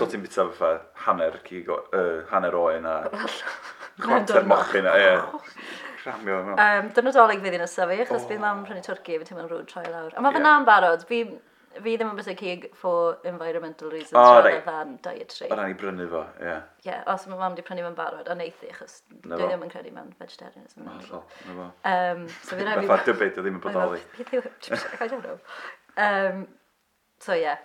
Speaker 1: So ti'n bita fatha hanner cig, o- yy, hanner oen a chwarter
Speaker 2: diwrnod.
Speaker 1: mochyn a, ie.
Speaker 2: <laughs>
Speaker 1: Cramio, no.
Speaker 2: Um, Dynodolig fydd i'n ysyfu, achos fi'n mam prynu twrci, fi'n teimlo'n rwyd troi lawr. Ond mae fyna yn barod, fi, fi ddim yn byta cig for environmental reasons,
Speaker 1: O,
Speaker 2: rather
Speaker 1: reit.
Speaker 2: than dietary.
Speaker 1: O ran i brynu fo, ie.
Speaker 2: Ie, yeah, os mae mam wedi prynu mewn barod, ond eithi, achos
Speaker 1: Na
Speaker 2: dwi
Speaker 1: fo.
Speaker 2: ddim yn credu mewn vegetarianism.
Speaker 1: Hollol, na fo.
Speaker 2: Um, so fi'n rhaid
Speaker 1: Fatha dybyd o ddim yn bodoli.
Speaker 2: Beth yw... I don't know. Um, so ie. Yeah.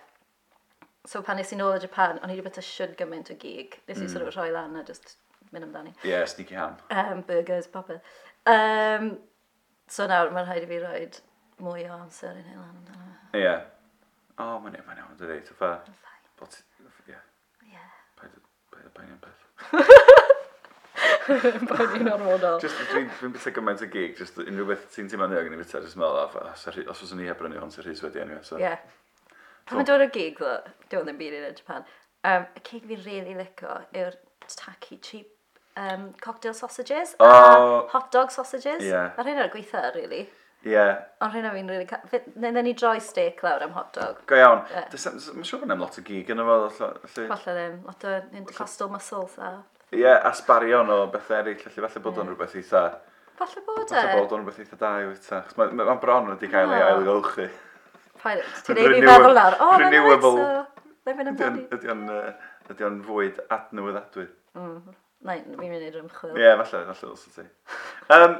Speaker 2: So pan nes i nôl o Japan, o'n i wedi byta siwd gymaint o gig. Nes i sort
Speaker 1: Mm.
Speaker 2: of rhoi lan a just mynd amdani.
Speaker 1: Ie, sneaky ham.
Speaker 2: Um, burgers, popeth. Um, so nawr mae'n rhaid i fi roi mwy o amser i ni lan amdano.
Speaker 1: Ie. O, mae'n iawn, mae'n iawn, dwi'n dweud. Fa,
Speaker 2: Fine.
Speaker 1: bod ti... Ie,
Speaker 2: Ie.
Speaker 1: paid paid a bangio'n peth.
Speaker 2: Bo'n i'n ormodol.
Speaker 1: Just, dwi'n dwi bita gymaint o gig, just unrhyw beth ti'n teimlo'n iawn i bita, just meddwl, "O, fa- os yr- os fyswn i heb brynu hwn, sy'n rhys wedi enw. So.
Speaker 2: Ie. Pan mae'n dod o gig, ddo, dwi'n ddim byd yn y Japan. Um, y cig fi'n really lico yw'r tacky cheap um, cocktail sausages
Speaker 1: O.
Speaker 2: a hot dog sausages.
Speaker 1: Ie.
Speaker 2: A rhain ar gweitha, really.
Speaker 1: Ie,
Speaker 2: Ond rhain ar fi'n really... ca- fe- Neu ddyn ni droi steak lawr am hot dog.
Speaker 1: go iawn.
Speaker 2: Ie.
Speaker 1: Does- does- Mae'n siŵr bod yna'n lot o gig yn efo, felly...
Speaker 2: Falle ddim, lot o intercostal muscles a...
Speaker 1: Ie, asbarion o bethau eraill, felly falle bod o'n rhywbeth eitha...
Speaker 2: Falle bod e.
Speaker 1: Falle bod o'n rhywbeth eitha da i wyta. Mae'n bron wedi cael ei
Speaker 2: O.
Speaker 1: ailgylchu.
Speaker 2: Paid- Ti'n neud fi
Speaker 1: Renewa-
Speaker 2: feddwl nawr. O, mae'n
Speaker 1: renewable-
Speaker 2: nice o. Mae'n mynd
Speaker 1: Ydy o'n-
Speaker 2: amdani.
Speaker 1: ydy o'n, yy, Ydy o'n fwyd adnewyddadwy.
Speaker 2: Na, fi'n mynd i'r ymchwil.
Speaker 1: Ie, falle, falle ddylse ti. Um,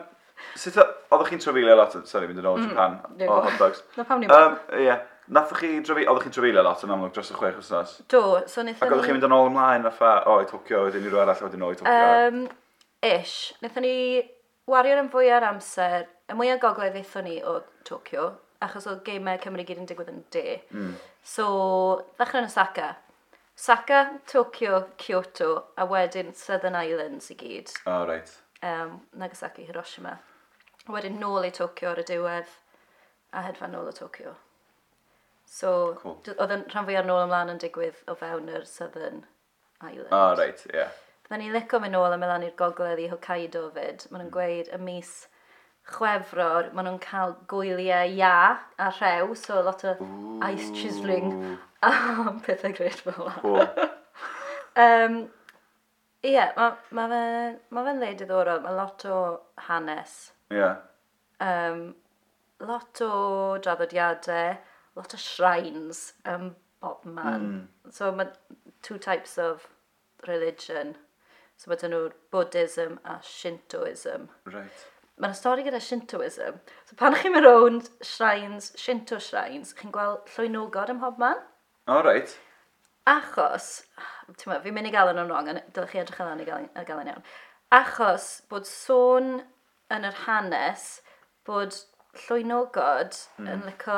Speaker 1: sut o- oeddech chi'n trafeilio lot, yn- sorry, mynd yn
Speaker 2: Mm,
Speaker 1: ôl i Japan,
Speaker 2: dwi'n
Speaker 1: o
Speaker 2: gwbo.
Speaker 1: hot dogs.
Speaker 2: Na pam ni'n
Speaker 1: Um, ie, nathoch chi trafeilio, oeddech chi'n trafeilio lot yn amlwg dros y chwech wrthnos.
Speaker 2: Do, so
Speaker 1: Ac
Speaker 2: wnaethon
Speaker 1: oeddech chi'n mynd yn ôl ymlaen fatha, o, i Tokyo, wedyn i rhywun arall, a wedyn o, i Tokyo.
Speaker 2: Um, ish. Nethon ni wario yn fwy ar amser. Y mwyaf gogledd eithon ni o Tokyo, achos oedd geimau Cymru gyd yn digwydd yn de.
Speaker 1: Hmm.
Speaker 2: Mm. So, ddechrau yn Osaka. Osaka, Tokyo, Kyoto, a wedyn Southern Islands i gyd.
Speaker 1: O, reit.
Speaker 2: Um, Nagasaki, Hiroshima. A Wedyn nôl i Tokyo ar y diwedd, a hedfan nôl o Tokyo. So,
Speaker 1: Cool. Ah,
Speaker 2: d- oedd yn rhan fwyaf nôl ymlaen yn digwydd o fewn yr Southern Islands.
Speaker 1: O, reit, ie.
Speaker 2: Fydden ni licio mynd nôl a mynd lan i'r gogledd i Hokkaido fyd. Maen nhw'n gweud y mis chwefror, maen nhw'n cael gwyliau ia a rhew, so lot o ice chiseling a pethau gred fel yna. <laughs>
Speaker 1: Cool.
Speaker 2: Um, Ie, mae ma fe'n ma fe le diddorol. Mae lot o hanes,
Speaker 1: Ie.
Speaker 2: um, lot o draddodiadau, lot o shrines um, bob man. Mm. So mae two types of religion. So mae dyn nhw Buddhism a Shintoism.
Speaker 1: Right.
Speaker 2: Mae'n stori gyda Shintoism. So pan chi'n mynd rownd shrines, Shinto shrines, chi'n gweld llwynog ym mhob man?
Speaker 1: O, right.
Speaker 2: achos, ti'n meddwl, fi'n mynd i gael nhw'n wrong, ond dylech chi edrych allan i gael, i gael yn iawn, achos bod sôn yn yr hanes bod llwynogod mm. yn licio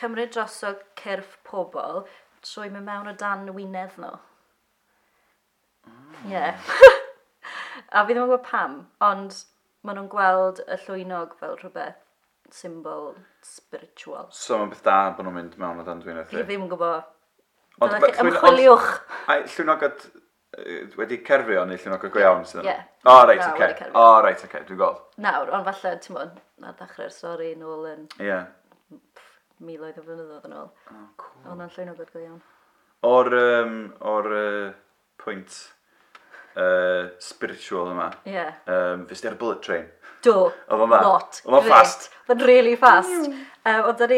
Speaker 2: cymryd droso cyrff pobl trwy mynd mewn o dan wynedd nhw.
Speaker 1: Mm.
Speaker 2: Ie. <laughs> Yeah. a fi ddim yn gwybod pam, ond maen nhw'n gweld y llwynog fel rhywbeth symbol spiritual.
Speaker 1: So mae'n beth da bod nhw'n mynd mewn o dan dwi'n
Speaker 2: Fi
Speaker 1: eithaf.
Speaker 2: ddim yn gwybod.
Speaker 1: Ond
Speaker 2: Dylech chi
Speaker 1: llwyno- ond-
Speaker 2: ymchwiliwch.
Speaker 1: Ai, llwnogod yy, wedi cerfio neu llwnogod go iawn sydd yna?
Speaker 2: Ie.
Speaker 1: O, reit,
Speaker 2: Na, wedi
Speaker 1: oce.
Speaker 2: cerfio.
Speaker 1: O, reit, oce, dwi'n gweld.
Speaker 2: nawr, ond falle, ti'n mwyn, ar ddechrau'r stori yn ôl yn
Speaker 1: Ie.
Speaker 2: miloedd o flynyddoedd yn ôl.
Speaker 1: O, cool.
Speaker 2: Ond yn llwy'n ogod go iawn.
Speaker 1: O'r, um, o'r uh, pwynt uh, spiritual yma,
Speaker 2: Ie. Yeah.
Speaker 1: um, fes di ar y bullet train.
Speaker 2: Do.
Speaker 1: Oedd o'n dda?
Speaker 2: Lot.
Speaker 1: Oedd o'n
Speaker 2: Grêt.
Speaker 1: fast? Mm.
Speaker 2: Oedd o'n really fast. Uh, oedd yr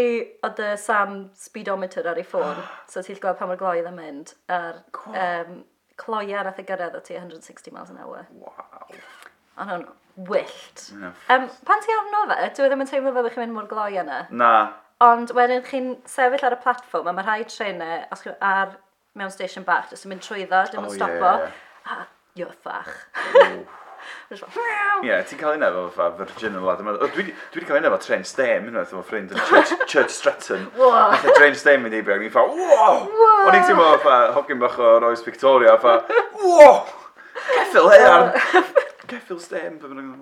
Speaker 2: oedd y Sam speedometer ar ei
Speaker 1: <gasps>
Speaker 2: ffôn, so ti'n gweld pa mor gloi oedd yn mynd. A'r
Speaker 1: Cool.
Speaker 2: um, cloia nath y gyrraedd o ti 160 miles an hour.
Speaker 1: Waw.
Speaker 2: Ond o'n wyllt.
Speaker 1: Ie.
Speaker 2: Um, pan ti arno fe, dwi ddim yn teimlo fel bych chi'n mynd mor gloi yna.
Speaker 1: Na.
Speaker 2: Ond wedyn chi'n sefyll ar y platfform a mae rhai trenau os chi ar mewn station bach, jyst yn mynd trwyddo, dim
Speaker 1: Oh,
Speaker 2: yn
Speaker 1: ie,
Speaker 2: stopo.
Speaker 1: ie, ie.
Speaker 2: A you're fach. Jyst fel,
Speaker 1: Ie,
Speaker 2: meow.
Speaker 1: yeah, ti'n cael un efo fa Virgin yn lad yma. O, Dwi 'di- dwi wedi cael un efo Train Stem unwaith efo ffrind yn
Speaker 2: <laughs>
Speaker 1: Church, Church Stretton.
Speaker 2: Wow. <laughs>
Speaker 1: Nath y Train Stem mynd i bywyd, ni'n fa, wow!
Speaker 2: Wow.
Speaker 1: O'n i'n teimlo fa hogyn bach o'r oes Victoria, fa, wow! Ceffil ean! Ceffil Stem, pe bynnag.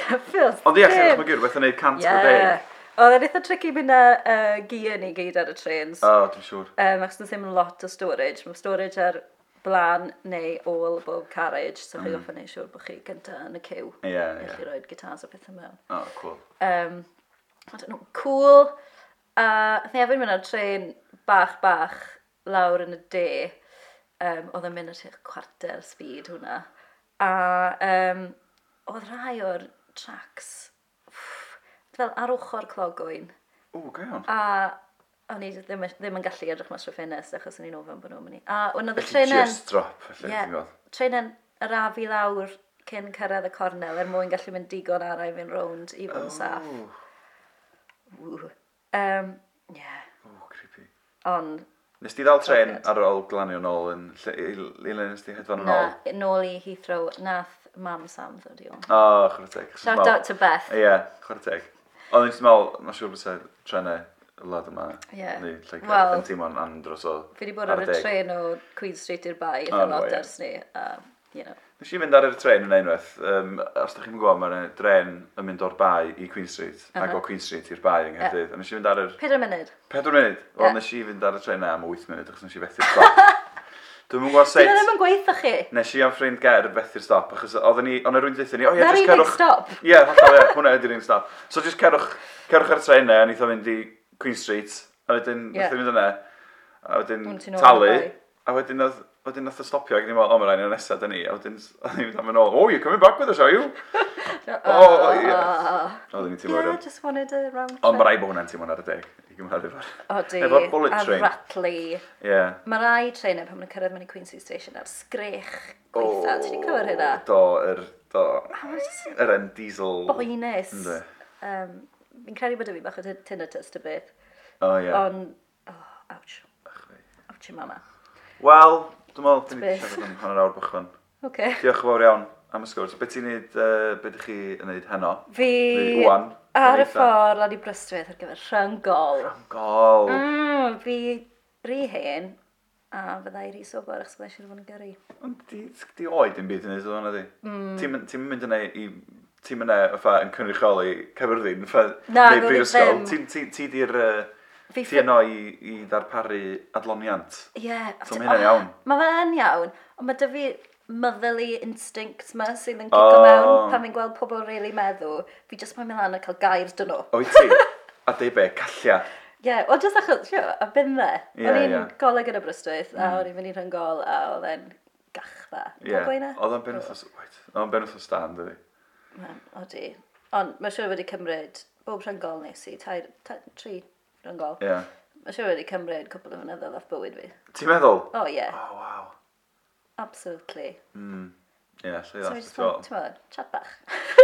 Speaker 2: Cyffils.
Speaker 1: Ond ie, chi'n ychwanegu rhywbeth yn neud cant o deg.
Speaker 2: Oedd e'n eitha tricky mynd â uh, gear ni gyd ar y trains.
Speaker 1: O, dwi'n siŵr.
Speaker 2: Um, ac does ddim yn lot o storage. Mae storage ar blaen neu ôl bob carriage, so chi goffa neud siŵr bod chi gyntaf yn y cyw.
Speaker 1: Mm. Ie,
Speaker 2: Neu
Speaker 1: ie.
Speaker 2: chi roed gitars a pethau mewn.
Speaker 1: O, cool.
Speaker 2: um, I don't know, cool. A uh, hefyd mynd ar tren bach bach lawr yn y de. Um, oedd yn mynd at eich cwarter speed hwnna. A um, oedd rhai o'r tracks pff, fel ar ochr clogwyn.
Speaker 1: O, go iawn.
Speaker 2: A o'n i ddim, ddim yn gallu edrych mas o'r ffenest achos o'n i'n ofyn bod nhw'n mynd i. A o'n oedd y
Speaker 1: Felly
Speaker 2: trenen...
Speaker 1: Just drop, felly,
Speaker 2: Ie,
Speaker 1: ti'n gweld.
Speaker 2: trenen yr afi lawr cyn cyrraedd y cornel er mwyn gallu mynd digon arau fynd rownd i
Speaker 1: Oh.
Speaker 2: fod yn saff.
Speaker 1: O,
Speaker 2: Um, yeah.
Speaker 1: o, creepy.
Speaker 2: Ond,
Speaker 1: Nes di ddal tren ar ôl glanio nôl yn... lle- i- i- i le nes di hedfan yn
Speaker 2: na,
Speaker 1: ôl?
Speaker 2: nôl i Heathrow, nath mam Sam ddod i ôl.
Speaker 1: O, chwrdd teg.
Speaker 2: Shout out to Beth.
Speaker 1: Ie, chwarae teg. Ond dwi'n meddwl, mae'n siŵr bod sef trenau y lad yma.
Speaker 2: Ie.
Speaker 1: Neu lle
Speaker 2: Wel-
Speaker 1: yn teimlo'n andros o.
Speaker 2: Fi wedi bod ar y
Speaker 1: deg.
Speaker 2: tren o Queen Street i'r
Speaker 1: O,
Speaker 2: bai, eitha lot
Speaker 1: ie.
Speaker 2: ers ni. a, you know.
Speaker 1: Nes i fynd ar y tren yn unwaith. Um, os ydych chi'n gwybod, mae'n dren yn mynd o'r bai i Queen Street. Uh -huh. Ac o Queen Street i'r bai yng Nghyrdydd. A nes i fynd ar yr...
Speaker 2: Peder munud.
Speaker 1: Pedwar munud. Wel,
Speaker 2: Ie.
Speaker 1: nes i fynd ar y tren na am 8 munud, achos nes i fethu'r stop.
Speaker 2: <laughs>
Speaker 1: Dwi'n mwyn gweld
Speaker 2: Dyna ddim
Speaker 1: sut...
Speaker 2: yn gweithio chi.
Speaker 1: Nes i am ffrind ger fethu'r stop, achos oedden ni... Ond rwy'n dweud ni, o ie,
Speaker 2: Na'r
Speaker 1: jyst
Speaker 2: unig
Speaker 1: cerwch...
Speaker 2: stop.
Speaker 1: Ie, yeah, hollol ie, hwnna ydy'r un stop. So just cerwch, cerwch ar y tren ne, a nitho fynd i Queen Street, a wedyn,
Speaker 2: Ie.
Speaker 1: yeah. fynd yna, a wedyn
Speaker 2: Hwn ti'n ôl
Speaker 1: talu,
Speaker 2: yn y bai.
Speaker 1: a wedyn oedd, wedyn nath o stopio ac o'n i'n meddwl, o, mae'n rhaid i'n nesaf dyn ni, a wedyn <laughs> oedd ni'n mynd nôl, oh, you're coming back with us, are you?
Speaker 2: Uh,
Speaker 1: O, ie. Oedden ni'n teimlo
Speaker 2: Yeah,
Speaker 1: rhywbeth.
Speaker 2: just wanted a round
Speaker 1: Ond
Speaker 2: trip.
Speaker 1: mae rhaid bod hwnna'n teimlo'n ar y deg, i gymharu fo'r...
Speaker 2: O di,
Speaker 1: efo'r bullet
Speaker 2: a
Speaker 1: train.
Speaker 2: ratli.
Speaker 1: Ie.
Speaker 2: Mae rai trenau pan maen nhw'n cyrraedd mewn i Queen Street Station ar sgrech gweitha. Ti'n ni'n cywir hynna?
Speaker 1: Do, yr, do, yr en diesel...
Speaker 2: Boenus.
Speaker 1: Yndi.
Speaker 2: Um, fi'n credu bod y fi bach o tin- tinnitus dy beth.
Speaker 1: O, ie.
Speaker 2: Ond, oh, ouch. Ouch i mama.
Speaker 1: Wel, dwi'n meddwl, dwi'n
Speaker 2: Beth.
Speaker 1: siarad am hanner awr bychwan.
Speaker 2: Oce.
Speaker 1: Diolch yn fawr iawn am y sgwrs. Be ti'n neud, uh, be ydych chi yn neud heno?
Speaker 2: Fi
Speaker 1: Neu ŵan,
Speaker 2: ar y
Speaker 1: eitha.
Speaker 2: ffordd lan i Brystwyth ar gyfer rhyngol.
Speaker 1: Gol!
Speaker 2: Mm, fi rhy hen a fydda i rhy sobor achos bydda i siarad fod yn gyrru.
Speaker 1: Ond di, di oed yn byd yn neud o'n ydi? Mm. Ti'n mynd yna i... Ti'n mynd yna fatha yn cynrychioli cyfyrddin
Speaker 2: Na,
Speaker 1: neu
Speaker 2: dwi
Speaker 1: brifysgol.
Speaker 2: ddim.
Speaker 1: Ti- ti- Ti di'r... yy,
Speaker 2: Fi
Speaker 1: Ti yno i, i ddarparu adloniant.
Speaker 2: Ie. <gasps>
Speaker 1: So ma' hynna'n iawn.
Speaker 2: Mae fe yn iawn, ond mae dy fi motherly instinct ma sydd yn cico
Speaker 1: O.
Speaker 2: mewn pan fi'n gweld pobl really meddw. Fi jyst mae'n mynd lan a cael gair dyn nhw.
Speaker 1: O'i ti?
Speaker 2: <laughs>
Speaker 1: A di be, callia.
Speaker 2: Ie, yeah, wel jyst achos, sio, a byn dde.
Speaker 1: Ie,
Speaker 2: Yeah, o'n i'n
Speaker 1: ie. Mm.
Speaker 2: yeah. goleg yn y brystwyth, a o'n i'n mynd i'n rhyngol, a oedd e'n gachfa.
Speaker 1: Ie.
Speaker 2: Yeah. Gweina?
Speaker 1: Oedd o'n benwth o... Wait. Oedd o'n benwth o stan, dydi?
Speaker 2: Odi. Ond mae'n siŵr wedi cymryd, bob rhyngol nes i, tair, tair, tri rhyngol.
Speaker 1: Ie.
Speaker 2: Mae'n siŵr wedi cymryd cwpl o fynyddoedd off bywyd fi.
Speaker 1: Ti'n meddwl?
Speaker 2: O, oh, ie, yeah,
Speaker 1: O, waw.
Speaker 2: absolutely.
Speaker 1: Ie, lle ddall. ti'n
Speaker 2: So, I just
Speaker 1: gweld?
Speaker 2: want, ti'n meddwl, chat bach.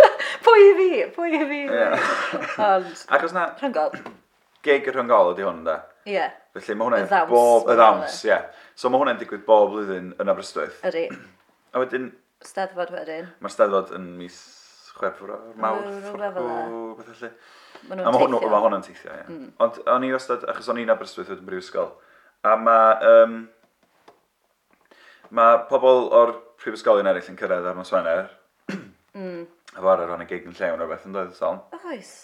Speaker 2: <laughs> pwy i fi, pwy i fi. Ond,
Speaker 1: Ac os na,
Speaker 2: rhyngol,
Speaker 1: gig yr rhyngol ydi hwn, da?
Speaker 2: ie, yeah,
Speaker 1: Felly mae hwnna'n
Speaker 2: Y ddawns,
Speaker 1: bob... Y
Speaker 2: ma'
Speaker 1: ddawns, ie. So mae hwnna'n digwydd bob blwyddyn yn Aberystwyth.
Speaker 2: ydi.
Speaker 1: A wedyn,
Speaker 2: Steddfod wedyn.
Speaker 1: mae'r steddfod yn mis Chwefror, Mawrth,
Speaker 2: rhywbeth fel
Speaker 1: Ffwrgw,
Speaker 2: na.
Speaker 1: beth felly.
Speaker 2: Ma'
Speaker 1: A
Speaker 2: nhw'n
Speaker 1: mae hwn-
Speaker 2: teithio. Mm.
Speaker 1: ma' hwnna'n teithio, ie. Ond o'n i wastad, achos o'n i'n Aberystwyth yn brifysgol, a mae... Um, mae pobl o'r prifysgolion eraill yn cyrraedd ar nos Wener,
Speaker 2: Mm.
Speaker 1: a fawr ar hwnna gig yn llewn o'r beth yn dod, Salm.
Speaker 2: Oes.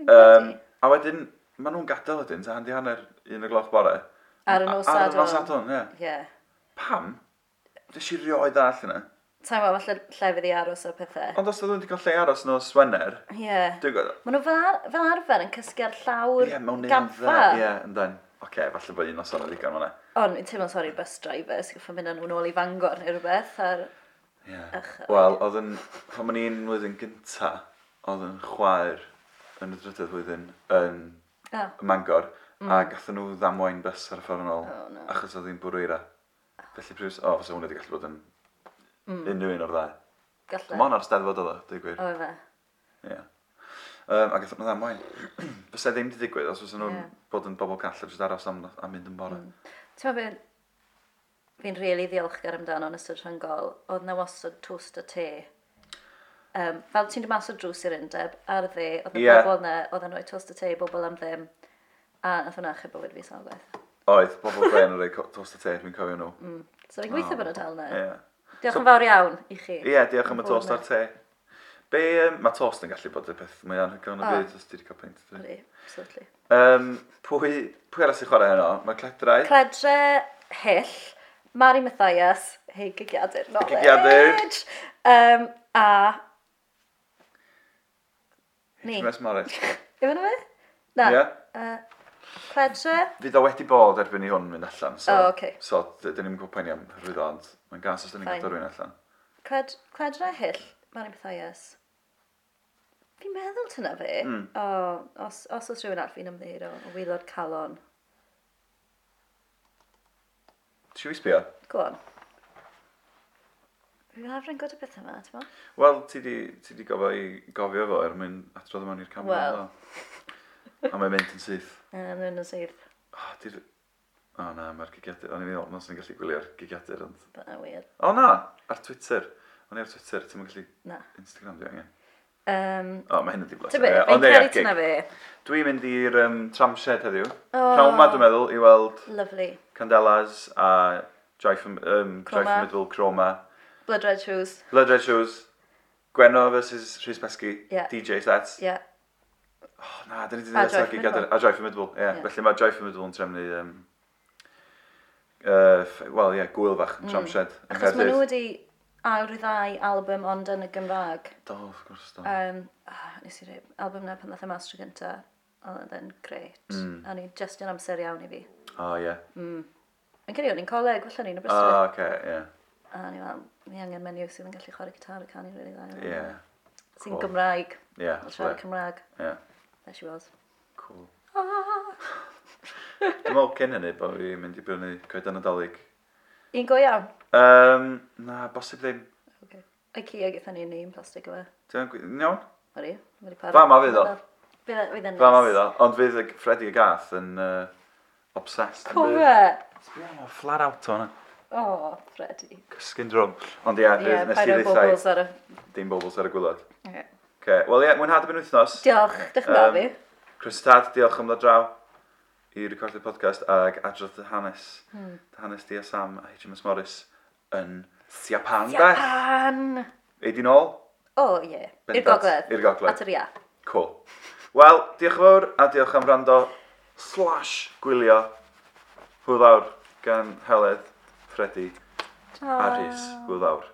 Speaker 1: Um, a wedyn, maen nhw'n gadael ydyn, ta handi hanner un y gloch bore.
Speaker 2: Ar y nos
Speaker 1: A- Ar y nos
Speaker 2: Sadwrn.
Speaker 1: adon, ie.
Speaker 2: Ie.
Speaker 1: Pam? Dys i rioed all yna.
Speaker 2: Ta'n gwybod, falle lle fydd i aros o pethau.
Speaker 1: Ond os oedd nhw'n digon lle aros nos Wener,
Speaker 2: Ie.
Speaker 1: dwi'n gwybod...
Speaker 2: Maen nhw fel, ar- fel arfer yn cysgu ar llawr
Speaker 1: Ie, mewn un
Speaker 2: gampfa.
Speaker 1: dda. Ie, yndan. Oce, falle bod un os o'n ddigon fyna.
Speaker 2: Ond fi'n teimlo'n sori bus drivers, gyda mynd â nhw nôl i fangor neu rhywbeth. Ar...
Speaker 1: Ie.
Speaker 2: Ych.
Speaker 1: Wel, oedd yn... Pan o'n i'n flwyddyn gynta, oedd yn chwaer yn y drydydd flwyddyn yn
Speaker 2: Oh,
Speaker 1: Mangor, a gathen nhw ddamwain bus ar y ffordd yn ôl,
Speaker 2: Oh, no.
Speaker 1: achos oedd hi'n bwrw eira. Felly prifs... O, fysa hwnna wedi gallu bod yn
Speaker 2: Mm.
Speaker 1: unrhyw un o'r ddau.
Speaker 2: gallai.
Speaker 1: Mon ar steddfod oedd o, dwi'n gwir.
Speaker 2: O, fe.
Speaker 1: Ie. Um, a gathen nhw ddamwain. <clears throat> Fysa ddim wedi digwydd os fysa nhw'n
Speaker 2: Ie. Mm.
Speaker 1: bod yn bobl call a jyst aros am, am mynd yn bore.
Speaker 2: Ti'n meddwl, fi'n rili ddiolchgar amdano yn ystod rhyngol, oedd na wastad toast a te. Um, fel ti'n dod mas o drws i'r undeb, ar y dde, oedd y
Speaker 1: Ie.
Speaker 2: bobl na, oedd yn rhoi toast a te i bobl am ddim. A nath hwnna chyb bywyd fi sawl gwaith.
Speaker 1: Oedd, bobl glen yn rhoi co- tost a te, dwi'n cofio nhw.
Speaker 2: So fi'n gweithio bod nhw dal na.
Speaker 1: Ie.
Speaker 2: Diolch yn fawr iawn i chi.
Speaker 1: Ie, diolch am y
Speaker 2: Am bod
Speaker 1: tost
Speaker 2: yna.
Speaker 1: ar te. Be, um, mae tost yn gallu bod y peth mae anhygoel yn y
Speaker 2: O.
Speaker 1: byd os ti wedi cael peint. dydi?
Speaker 2: Ydy, Absolutely.
Speaker 1: Um, pwy, pwy arall sy'n chwarae heno? Mae Cledraid.
Speaker 2: Cledre Hyll, Mari Mathias, Hei Gigiadur Knowledge.
Speaker 1: Gigiadur.
Speaker 2: Um, a... Ni.
Speaker 1: Mes Morris.
Speaker 2: Yw hwnna fe? Na.
Speaker 1: Ie.
Speaker 2: Uh, Cledre?
Speaker 1: Fydd o wedi bod erbyn i hwn mynd allan. So,
Speaker 2: O, oce.
Speaker 1: So, dyn ni'n gwybod pa'n iawn rwyddo, ond mae'n gas os dyn ni'n
Speaker 2: Fine.
Speaker 1: gwybod rwy'n allan.
Speaker 2: Cled, Cledre Hyll, Mari Mathias. Fi'n meddwl tyna fe.
Speaker 1: Hmm.
Speaker 2: Mm. O, os, os oes rhywun arall fi'n ymddeir o, o wylod calon.
Speaker 1: Ti'n fi sbio?
Speaker 2: Go on. Fi'n lafr yn gwybod y beth yma, ti'n meddwl?
Speaker 1: Wel, ti di, ti di gofio i gofio fo er mwyn adrodd yma i'r camera.
Speaker 2: Wel.
Speaker 1: do? A mae'n mynd yn syth.
Speaker 2: Yn yn y sydd.
Speaker 1: O, di'r... O na, mae'r gigiadur... O'n i'n meddwl, mae'n sy'n gallu gwylio'r gigiadur, ond...
Speaker 2: Byna wir.
Speaker 1: O na, ar Twitter. O'n i ar Twitter, ti'n gallu
Speaker 2: Na.
Speaker 1: Instagram di angen.
Speaker 2: Um,
Speaker 1: O, mae hyn yn diflas.
Speaker 2: Ti'n byd, fi'n credu tyna fe.
Speaker 1: Dwi'n mynd i'r um, tramshed heddiw.
Speaker 2: O.
Speaker 1: Pnawn ma, dwi'n meddwl, i weld
Speaker 2: Lovely.
Speaker 1: Candelas a Joy from, um, Joy
Speaker 2: Croma.
Speaker 1: from Middle, Croma.
Speaker 2: Blood Red Shoes.
Speaker 1: Blood Red Shoes. Gwenno versus Rhys Pesci.
Speaker 2: Ie.
Speaker 1: DJ sets.
Speaker 2: Ie.
Speaker 1: Oh, na, dyn ni wedi
Speaker 2: A
Speaker 1: dweud eto
Speaker 2: Joy from
Speaker 1: gigadr.
Speaker 2: Middle.
Speaker 1: A Joy Formidable, ie. Yeah.
Speaker 2: Ie.
Speaker 1: Felly mae Joy Formidable yn trefnu... Um, uh, Wel, ie, yeah, gwyl fach yn tramshed. yng
Speaker 2: Mm. Achos maen
Speaker 1: Nghaerdydd.
Speaker 2: nhw wedi awr i ddau album ond yn y Gymraeg.
Speaker 1: Do, wrth gwrs, do.
Speaker 2: Um, oh, nes i reib, album na pan ddath y mas tro gynta, oedd e yn gret. Mm. A ni just yn amser iawn i fi.
Speaker 1: O, ie.
Speaker 2: Yn cyrraedd ni'n coleg, felly ni'n y
Speaker 1: O,
Speaker 2: brysau.
Speaker 1: oce, ie.
Speaker 2: A ni fel, ni angen menyw sydd yn gallu chwarae gitar a canu rili dda. iawn.
Speaker 1: Ie.
Speaker 2: Sy'n
Speaker 1: cool.
Speaker 2: Gymraeg,
Speaker 1: Ie,
Speaker 2: yn siarad
Speaker 1: absolutely.
Speaker 2: Cymraeg.
Speaker 1: Ie.
Speaker 2: There she was.
Speaker 1: Cool.
Speaker 2: Ah,
Speaker 1: Dwi'n meddwl cyn hynny bod fi'n mynd i brynu coedan nadolig.
Speaker 2: un go iawn.
Speaker 1: Um, na, bosib ddim.
Speaker 2: Okay. Ikea gyda ni'n un plastig o fe.
Speaker 1: Dwi'n gwy- yn iawn?
Speaker 2: Ori, wedi para.
Speaker 1: Fama fydd o.
Speaker 2: Fydd fydd yn
Speaker 1: Fa ma
Speaker 2: neis.
Speaker 1: fydd o. Ond fydd y Freddy y Gath yn uh, obsessed. yn bydd.
Speaker 2: Cofre!
Speaker 1: O, flar out o'n
Speaker 2: e? O, Freddy.
Speaker 1: Cysgu'n drwm. Ond ie,
Speaker 2: Ie,
Speaker 1: yeah, nes i
Speaker 2: paid o
Speaker 1: ddeithau
Speaker 2: bobls ar y...
Speaker 1: dim bobls ar y gwylod.
Speaker 2: Ie.
Speaker 1: Okay. Wel ie, yeah, mwynhad y byn wythnos.
Speaker 2: Diolch, diolch yn fawr fi.
Speaker 1: Chris Tad, diolch am ddod draw i recordio podcast ag adrodd dy hanes. Hmm. Hanes di a Sam a HMS Morris yn Siapan, de.
Speaker 2: Japan!
Speaker 1: Ei di nôl?
Speaker 2: O, ie. I'r
Speaker 1: Bendant,
Speaker 2: gogledd.
Speaker 1: i'r gogledd.
Speaker 2: At yr ia.
Speaker 1: Cool. Wel, diolch yn fawr a diolch am rando slash gwylio hwyl awr gan Heledd, Freddy a Rhys. Hwyl awr.